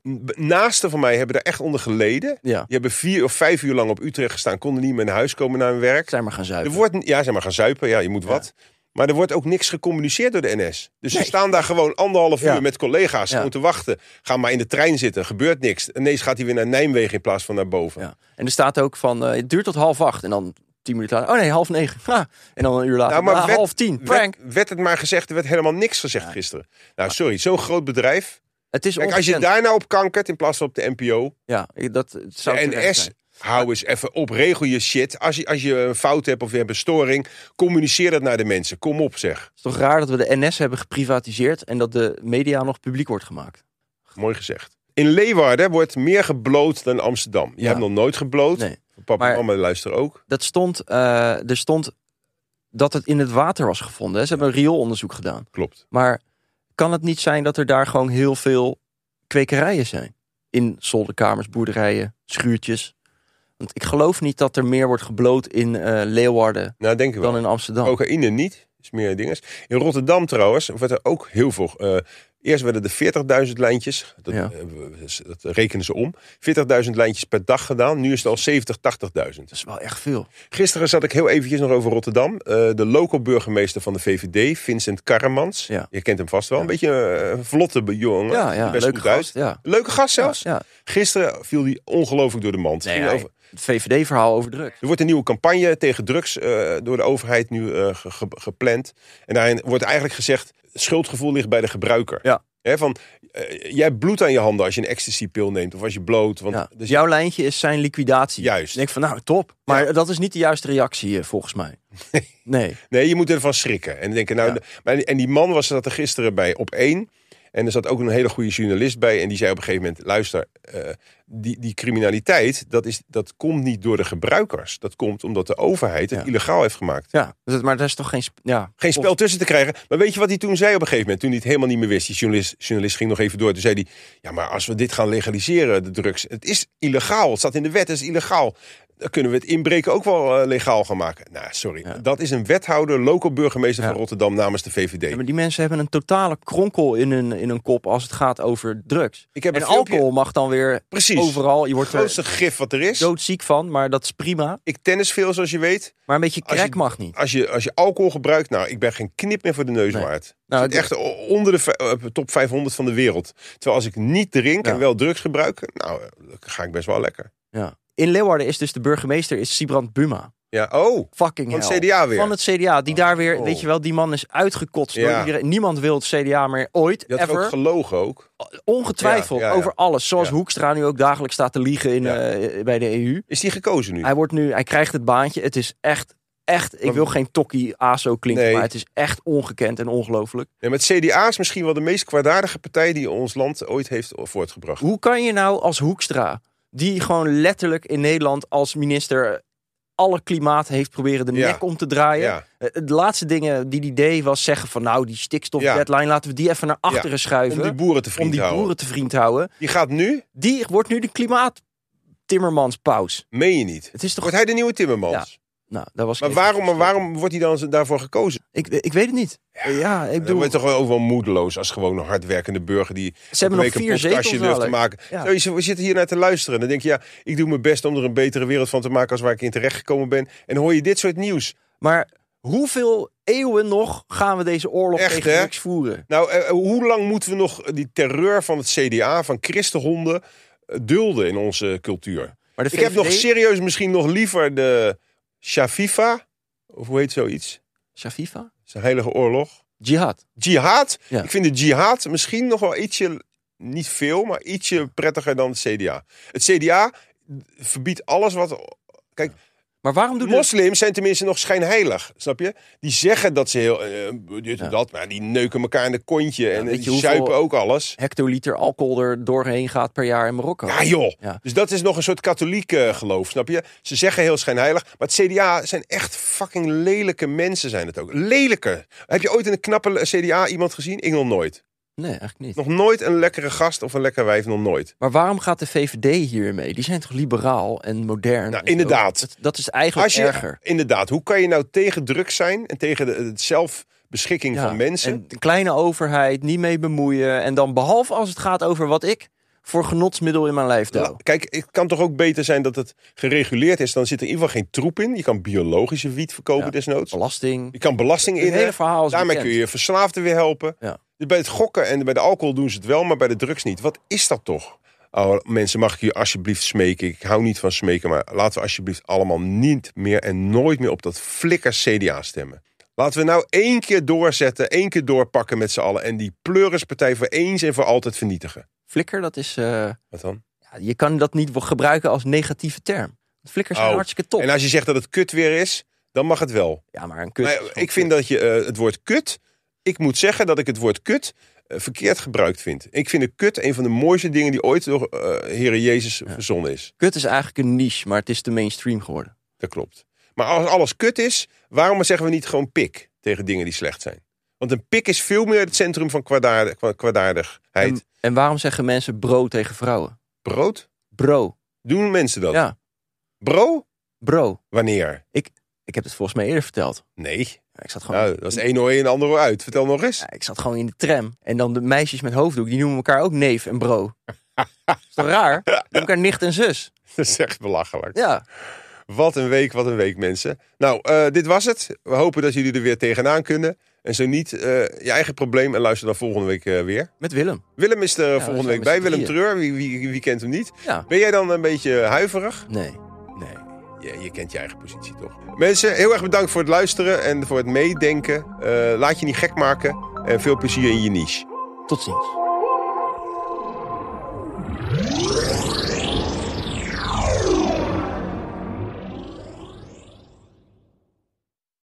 [SPEAKER 2] Naasten van mij hebben daar echt onder geleden.
[SPEAKER 3] Ja,
[SPEAKER 2] Die hebben vier of vijf uur lang op Utrecht gestaan, konden niet meer naar huis komen naar hun werk.
[SPEAKER 3] zijn maar gaan
[SPEAKER 2] Er
[SPEAKER 3] zuipen.
[SPEAKER 2] wordt, ja, zeg maar, gaan zuipen. Ja, je moet wat. Maar er wordt ook niks gecommuniceerd door de NS. Dus ze staan daar gewoon anderhalf uur
[SPEAKER 3] Ja.
[SPEAKER 2] met collega's
[SPEAKER 3] Ja.
[SPEAKER 2] moeten te wachten. Ga maar in de trein zitten, gebeurt niks. Ineens gaat hij weer naar Nijmegen in plaats van naar boven.
[SPEAKER 3] Ja. En er staat ook van, eh, het duurt tot half acht. En dan tien minuten later, oh nee, half negen. *laughs* Ha. En dan een uur later,
[SPEAKER 2] Nou, maar
[SPEAKER 3] ah,
[SPEAKER 2] wet-
[SPEAKER 3] half tien. Prank.
[SPEAKER 2] Werd, werd het maar gezegd, er werd helemaal niks gezegd gisteren. Nou, sorry, zo'n groot bedrijf.
[SPEAKER 3] Het is
[SPEAKER 2] Kijk, als je
[SPEAKER 3] ongekend.
[SPEAKER 2] daar nou op kankert in plaats van op de NPO.
[SPEAKER 3] Ja, ik- dat het zou
[SPEAKER 2] De
[SPEAKER 3] terecht
[SPEAKER 2] NS,
[SPEAKER 3] zijn.
[SPEAKER 2] hou eens even op, regel je shit. Als je, als je een fout hebt of je hebt een storing, communiceer dat naar de mensen. Kom op zeg.
[SPEAKER 3] Het is toch raar dat we de NS hebben geprivatiseerd... en dat de media nog publiek wordt gemaakt.
[SPEAKER 2] Mooi gezegd. In Leeuwarden wordt meer gebloot dan Amsterdam. Je
[SPEAKER 3] Ja.
[SPEAKER 2] hebt nog nooit gebloot.
[SPEAKER 3] Nee.
[SPEAKER 2] Papa
[SPEAKER 3] Maar-
[SPEAKER 2] en mama luisteren ook.
[SPEAKER 3] Dat stond, eh, er stond dat het in het water was gevonden. hè. Ze hebben een rioolonderzoek gedaan.
[SPEAKER 2] Klopt.
[SPEAKER 3] Maar kan het niet zijn dat er daar gewoon heel veel kwekerijen zijn? In zolderkamers, boerderijen, schuurtjes. Want ik geloof niet dat er meer wordt gebloot in eh, Leeuwarden
[SPEAKER 2] Nou, denk ik wel.
[SPEAKER 3] dan in Amsterdam.
[SPEAKER 2] Cocaïne niet. Is meer dinges. In Rotterdam trouwens werd er ook heel veel... eh, eerst werden er 40.000 lijntjes. Dat,
[SPEAKER 3] Ja.
[SPEAKER 2] eh, we- dat rekenen ze om. 40.000 lijntjes per dag gedaan. Nu is het al 70, 80.000.
[SPEAKER 3] Dat is wel echt veel.
[SPEAKER 2] Gisteren zat ik heel eventjes nog over Rotterdam. Eh, de local burgemeester van de VVD, Vincent Karremans.
[SPEAKER 3] Ja.
[SPEAKER 2] Je kent hem vast wel. Een beetje eh, een vlotte jongen.
[SPEAKER 3] Ja,
[SPEAKER 2] Ziet er
[SPEAKER 3] ja,
[SPEAKER 2] best
[SPEAKER 3] leuke
[SPEAKER 2] goed uit.
[SPEAKER 3] gast. Ja.
[SPEAKER 2] Leuke gast zelfs.
[SPEAKER 3] Ja,
[SPEAKER 2] Gisteren viel die ongelooflijk door de mand.
[SPEAKER 3] Nee,
[SPEAKER 2] Ging
[SPEAKER 3] hij-
[SPEAKER 2] over-
[SPEAKER 3] het VVD-verhaal over druk.
[SPEAKER 2] Er wordt een nieuwe campagne tegen drugs eh, door de overheid nu eh, ge- ge- gepland. En daarin wordt eigenlijk gezegd... schuldgevoel ligt bij de gebruiker.
[SPEAKER 3] Ja.
[SPEAKER 2] Hè, van, eh, jij hebt bloed aan je handen als je een ecstasypil neemt of als je bloot. Want
[SPEAKER 3] Ja.
[SPEAKER 2] dus
[SPEAKER 3] Dus jouw lijntje is zijn liquidatie.
[SPEAKER 2] Juist.
[SPEAKER 3] Ik denk van, nou, top. Maar dat is niet de juiste reactie, eh, volgens mij. Nee.
[SPEAKER 2] *laughs* Nee, je moet ervan schrikken. En denken, nou,
[SPEAKER 3] Ja.
[SPEAKER 2] maar, en die man was zat er gisteren bij op één. En er zat ook een hele goede journalist bij. En die zei op een gegeven moment: luister, eh, die, die criminaliteit, dat, is, dat komt niet door de gebruikers. Dat komt omdat de overheid het
[SPEAKER 3] Ja.
[SPEAKER 2] illegaal heeft gemaakt.
[SPEAKER 3] Ja, dus het- maar dat is toch geen... sp- Ja,
[SPEAKER 2] Geen spel tussen te krijgen. Maar weet je wat hij toen zei op een gegeven moment? Toen hij het helemaal niet meer wist. Die journalist, journalist ging nog even door. Toen zei hij: Ja, maar als we dit gaan legaliseren, de drugs. Het is illegaal. Het staat in de wet. Het is illegaal. Dan kunnen we het inbreken ook wel eh, legaal gaan maken. Nou, sorry. Dat is een wethouder, local burgemeester van
[SPEAKER 3] Ja.
[SPEAKER 2] Rotterdam namens de VVD.
[SPEAKER 3] Ja, maar die mensen hebben een totale kronkel in hun, in hun kop als het gaat over drugs.
[SPEAKER 2] Ik heb
[SPEAKER 3] en
[SPEAKER 2] een filmpje-
[SPEAKER 3] alcohol mag dan weer
[SPEAKER 2] Precies.
[SPEAKER 3] overal. Je
[SPEAKER 2] Het
[SPEAKER 3] wordt er
[SPEAKER 2] grootste gif wat er is.
[SPEAKER 3] doodziek van, maar dat is prima.
[SPEAKER 2] Ik tennis veel, zoals je weet.
[SPEAKER 3] Maar een beetje
[SPEAKER 2] Als je-
[SPEAKER 3] crack mag niet.
[SPEAKER 2] Als je, als je alcohol gebruikt, nou, ik ben geen knip meer voor de neus
[SPEAKER 3] Nee.
[SPEAKER 2] waard.
[SPEAKER 3] Nou,
[SPEAKER 2] ik zit
[SPEAKER 3] ik-
[SPEAKER 2] echt o- onder de vij- eh, top 500 van de wereld. Terwijl als ik niet drink en
[SPEAKER 3] Ja.
[SPEAKER 2] wel drugs gebruik, nou, eh, dan ga ik best wel lekker.
[SPEAKER 3] Ja. In Leeuwarden is dus de burgemeester is Sibrand Buma.
[SPEAKER 2] Ja, oh,
[SPEAKER 3] Fucking
[SPEAKER 2] van het
[SPEAKER 3] hell.
[SPEAKER 2] CDA weer.
[SPEAKER 3] Van het CDA, die daar weer,
[SPEAKER 2] Oh.
[SPEAKER 3] weet je wel, die man is uitgekotst door
[SPEAKER 2] Ja.
[SPEAKER 3] iedereen. Niemand wil het CDA meer ooit,
[SPEAKER 2] dat is ook
[SPEAKER 3] ever.
[SPEAKER 2] gelogen ook.
[SPEAKER 3] Ongetwijfeld,
[SPEAKER 2] Ja, ja, ja.
[SPEAKER 3] over alles. Zoals
[SPEAKER 2] Ja.
[SPEAKER 3] Hoekstra nu ook dagelijks staat te liegen in,
[SPEAKER 2] Ja.
[SPEAKER 3] eh, bij de EU.
[SPEAKER 2] Is die gekozen nu?
[SPEAKER 3] Hij wordt nu, hij krijgt het baantje. Het is echt, echt, ik
[SPEAKER 2] Maar-
[SPEAKER 3] wil geen tokkie ASO klinken,
[SPEAKER 2] Nee.
[SPEAKER 3] maar het is echt ongekend en ongelooflijk.
[SPEAKER 2] Ja, met CDA is misschien wel de meest kwaadaardige partij die ons land ooit heeft voortgebracht.
[SPEAKER 3] Hoe kan je nou als Hoekstra, die gewoon letterlijk in Nederland als minister alle klimaat heeft proberen de
[SPEAKER 2] Ja.
[SPEAKER 3] nek om te draaien.
[SPEAKER 2] Ja.
[SPEAKER 3] Eh, De laatste dingen die hij deed was zeggen van nou die stikstof
[SPEAKER 2] Ja.
[SPEAKER 3] deadline laten we die even naar achteren
[SPEAKER 2] Om
[SPEAKER 3] schuiven.
[SPEAKER 2] die boeren te vriend
[SPEAKER 3] om die
[SPEAKER 2] te houden.
[SPEAKER 3] boeren te vriend te houden.
[SPEAKER 2] Die gaat nu,
[SPEAKER 3] Die wordt nu de klimaat Timmermans paus.
[SPEAKER 2] meen je niet.
[SPEAKER 3] Het is toch...
[SPEAKER 2] Wordt hij de nieuwe Timmermans?
[SPEAKER 3] Nou, daar was ik
[SPEAKER 2] Maar
[SPEAKER 3] even
[SPEAKER 2] waarom, maar
[SPEAKER 3] gestoord.
[SPEAKER 2] waarom wordt hij dan daarvoor gekozen?
[SPEAKER 3] Ik, ik weet het niet. Ja, ik
[SPEAKER 2] Dan
[SPEAKER 3] bedoel...
[SPEAKER 2] word je toch wel overal moedeloos als gewoon een hardwerkende burger die
[SPEAKER 3] Ze hebben nog
[SPEAKER 2] elke week
[SPEAKER 3] vier
[SPEAKER 2] een podcastje
[SPEAKER 3] zetels
[SPEAKER 2] durft te
[SPEAKER 3] nodig.
[SPEAKER 2] maken.
[SPEAKER 3] Ja.
[SPEAKER 2] Zo, je- we zitten hier naar te luisteren. Dan denk je, ja, ik doe mijn best om er een betere wereld van te maken als waar ik in terecht gekomen ben. En hoor je dit soort nieuws.
[SPEAKER 3] Maar hoeveel eeuwen nog gaan we deze oorlog
[SPEAKER 2] Echt,
[SPEAKER 3] tegen
[SPEAKER 2] hè?
[SPEAKER 3] drugs voeren?
[SPEAKER 2] Nou, eh, hoe lang moeten we nog die terreur van het CDA, van christenhonden, eh, dulden in onze cultuur?
[SPEAKER 3] Maar de
[SPEAKER 2] Ik heb nog
[SPEAKER 3] VVD
[SPEAKER 2] serieus misschien nog liever de Shafifa, of hoe heet zoiets?
[SPEAKER 3] Shafifa?
[SPEAKER 2] Zijn heilige oorlog.
[SPEAKER 3] Jihad.
[SPEAKER 2] Jihad.
[SPEAKER 3] Ja.
[SPEAKER 2] Ik vind de jihad misschien nog wel ietsje, niet veel, maar ietsje prettiger dan het CDA. Het CDA verbiedt alles wat. Kijk,
[SPEAKER 3] Maar waarom doen de...
[SPEAKER 2] moslims zijn tenminste nog schijnheilig, snap je? Die zeggen dat ze heel. eh, dit en
[SPEAKER 3] Ja.
[SPEAKER 2] dat, maar die neuken elkaar in de kontje en eh,
[SPEAKER 3] weet je
[SPEAKER 2] die
[SPEAKER 3] hoeveel-
[SPEAKER 2] zuipen ook alles.
[SPEAKER 3] hectoliter alcohol er doorheen gaat per jaar in Marokko?
[SPEAKER 2] Ja, joh.
[SPEAKER 3] Ja.
[SPEAKER 2] Dus dat is nog een soort katholiek eh, geloof, snap je? Ze zeggen heel schijnheilig, maar het CDA zijn echt fucking lelijke mensen, zijn het ook. Lelijke. Heb je ooit in een knappe CDA iemand gezien? Ik nog nooit.
[SPEAKER 3] Nee, eigenlijk niet.
[SPEAKER 2] Nog nooit een lekkere gast of een lekker wijf, nog nooit.
[SPEAKER 3] Maar waarom gaat de VVD hier mee? Die zijn toch liberaal en modern?
[SPEAKER 2] Nou,
[SPEAKER 3] en zo?
[SPEAKER 2] inderdaad.
[SPEAKER 3] Dat, dat is eigenlijk
[SPEAKER 2] je,
[SPEAKER 3] erger.
[SPEAKER 2] Inderdaad, hoe kan je nou tegen druk zijn en tegen de, het zelfbeschikking
[SPEAKER 3] Ja,
[SPEAKER 2] van mensen?
[SPEAKER 3] En de kleine overheid, niet mee bemoeien. En dan behalve als het gaat over wat ik voor genotsmiddel in mijn lijf
[SPEAKER 2] La-
[SPEAKER 3] douw.
[SPEAKER 2] Kijk, het kan toch ook beter zijn dat het gereguleerd is. Dan zit er in ieder geval geen troep in. Je kan biologische wiet verkopen
[SPEAKER 3] Ja.
[SPEAKER 2] desnoods.
[SPEAKER 3] Belasting.
[SPEAKER 2] Je kan belasting
[SPEAKER 3] Het hele
[SPEAKER 2] in.
[SPEAKER 3] verhaal is
[SPEAKER 2] Daarmee
[SPEAKER 3] bekend.
[SPEAKER 2] kun je verslaafden weer helpen.
[SPEAKER 3] Ja.
[SPEAKER 2] Dus bij het gokken en bij de alcohol doen ze het wel, maar bij de drugs niet. Wat is dat toch? Oh, mensen, mag ik je alsjeblieft smeken? Ik hou niet van smeken, maar laten we alsjeblieft allemaal niet meer en nooit meer op dat flikker CDA stemmen. Laten we nou één keer doorzetten, één keer doorpakken met z'n allen en die pleurispartij voor eens en voor altijd vernietigen.
[SPEAKER 3] Flikker, dat is... eh,
[SPEAKER 2] Wat dan?
[SPEAKER 3] ja, je kan dat niet gebruiken als negatieve term. Flikkers zijn
[SPEAKER 2] Oh.
[SPEAKER 3] hartstikke top.
[SPEAKER 2] En als je zegt dat het kut weer is, dan mag het wel.
[SPEAKER 3] Ja, maar een kut.
[SPEAKER 2] Maar
[SPEAKER 3] is gewoon
[SPEAKER 2] ik vind
[SPEAKER 3] kut.
[SPEAKER 2] dat je eh, het woord kut. Ik moet zeggen dat ik het woord kut eh, verkeerd gebruikt vind. Ik vind een kut een van de mooiste dingen die ooit door eh Heer Jezus verzonnen is.
[SPEAKER 3] Kut is eigenlijk een niche, maar het is de mainstream geworden.
[SPEAKER 2] Dat klopt. Maar als alles kut is, waarom zeggen we niet gewoon pik tegen dingen die slecht zijn? Want een pik is veel meer het centrum van kwaadaardig, kwa- kwaadaardigheid.
[SPEAKER 3] En, en waarom zeggen mensen bro tegen vrouwen?
[SPEAKER 2] Brood?
[SPEAKER 3] Bro.
[SPEAKER 2] Doen mensen dat?
[SPEAKER 3] Ja,
[SPEAKER 2] Bro?
[SPEAKER 3] bro.
[SPEAKER 2] Wanneer?
[SPEAKER 3] Ik heb het volgens mij eerder verteld.
[SPEAKER 2] Nee.
[SPEAKER 3] Ja, Ik zat gewoon,
[SPEAKER 2] Nou, dat is één oor in, de ander oor uit. Vertel nog eens.
[SPEAKER 3] ja, ik zat gewoon in de tram. En dan de meisjes met hoofddoek, die noemen elkaar ook neef en bro.
[SPEAKER 2] *laughs*
[SPEAKER 3] is toch raar? Die noemen elkaar nicht en zus.
[SPEAKER 2] *laughs* Dat is echt belachelijk.
[SPEAKER 3] Ja.
[SPEAKER 2] Wat een week, wat een week, mensen. Nou, eh, dit was het. We hopen dat jullie er weer tegenaan kunnen. En zo niet, eh, je eigen probleem en luister dan volgende week eh, weer.
[SPEAKER 3] Met Willem.
[SPEAKER 2] Willem is er
[SPEAKER 3] we
[SPEAKER 2] volgende
[SPEAKER 3] zijn
[SPEAKER 2] week
[SPEAKER 3] met
[SPEAKER 2] bij.
[SPEAKER 3] z'n
[SPEAKER 2] Willem
[SPEAKER 3] drieën.
[SPEAKER 2] Treur, wie, wie, wie kent hem niet?
[SPEAKER 3] Ja.
[SPEAKER 2] Ben jij dan een beetje huiverig?
[SPEAKER 3] Nee. Nee.
[SPEAKER 2] Je, je kent je eigen positie toch? Mensen, heel erg bedankt voor het luisteren en voor het meedenken. Eh, laat je niet gek maken.
[SPEAKER 4] En veel plezier in je niche.
[SPEAKER 2] Tot ziens.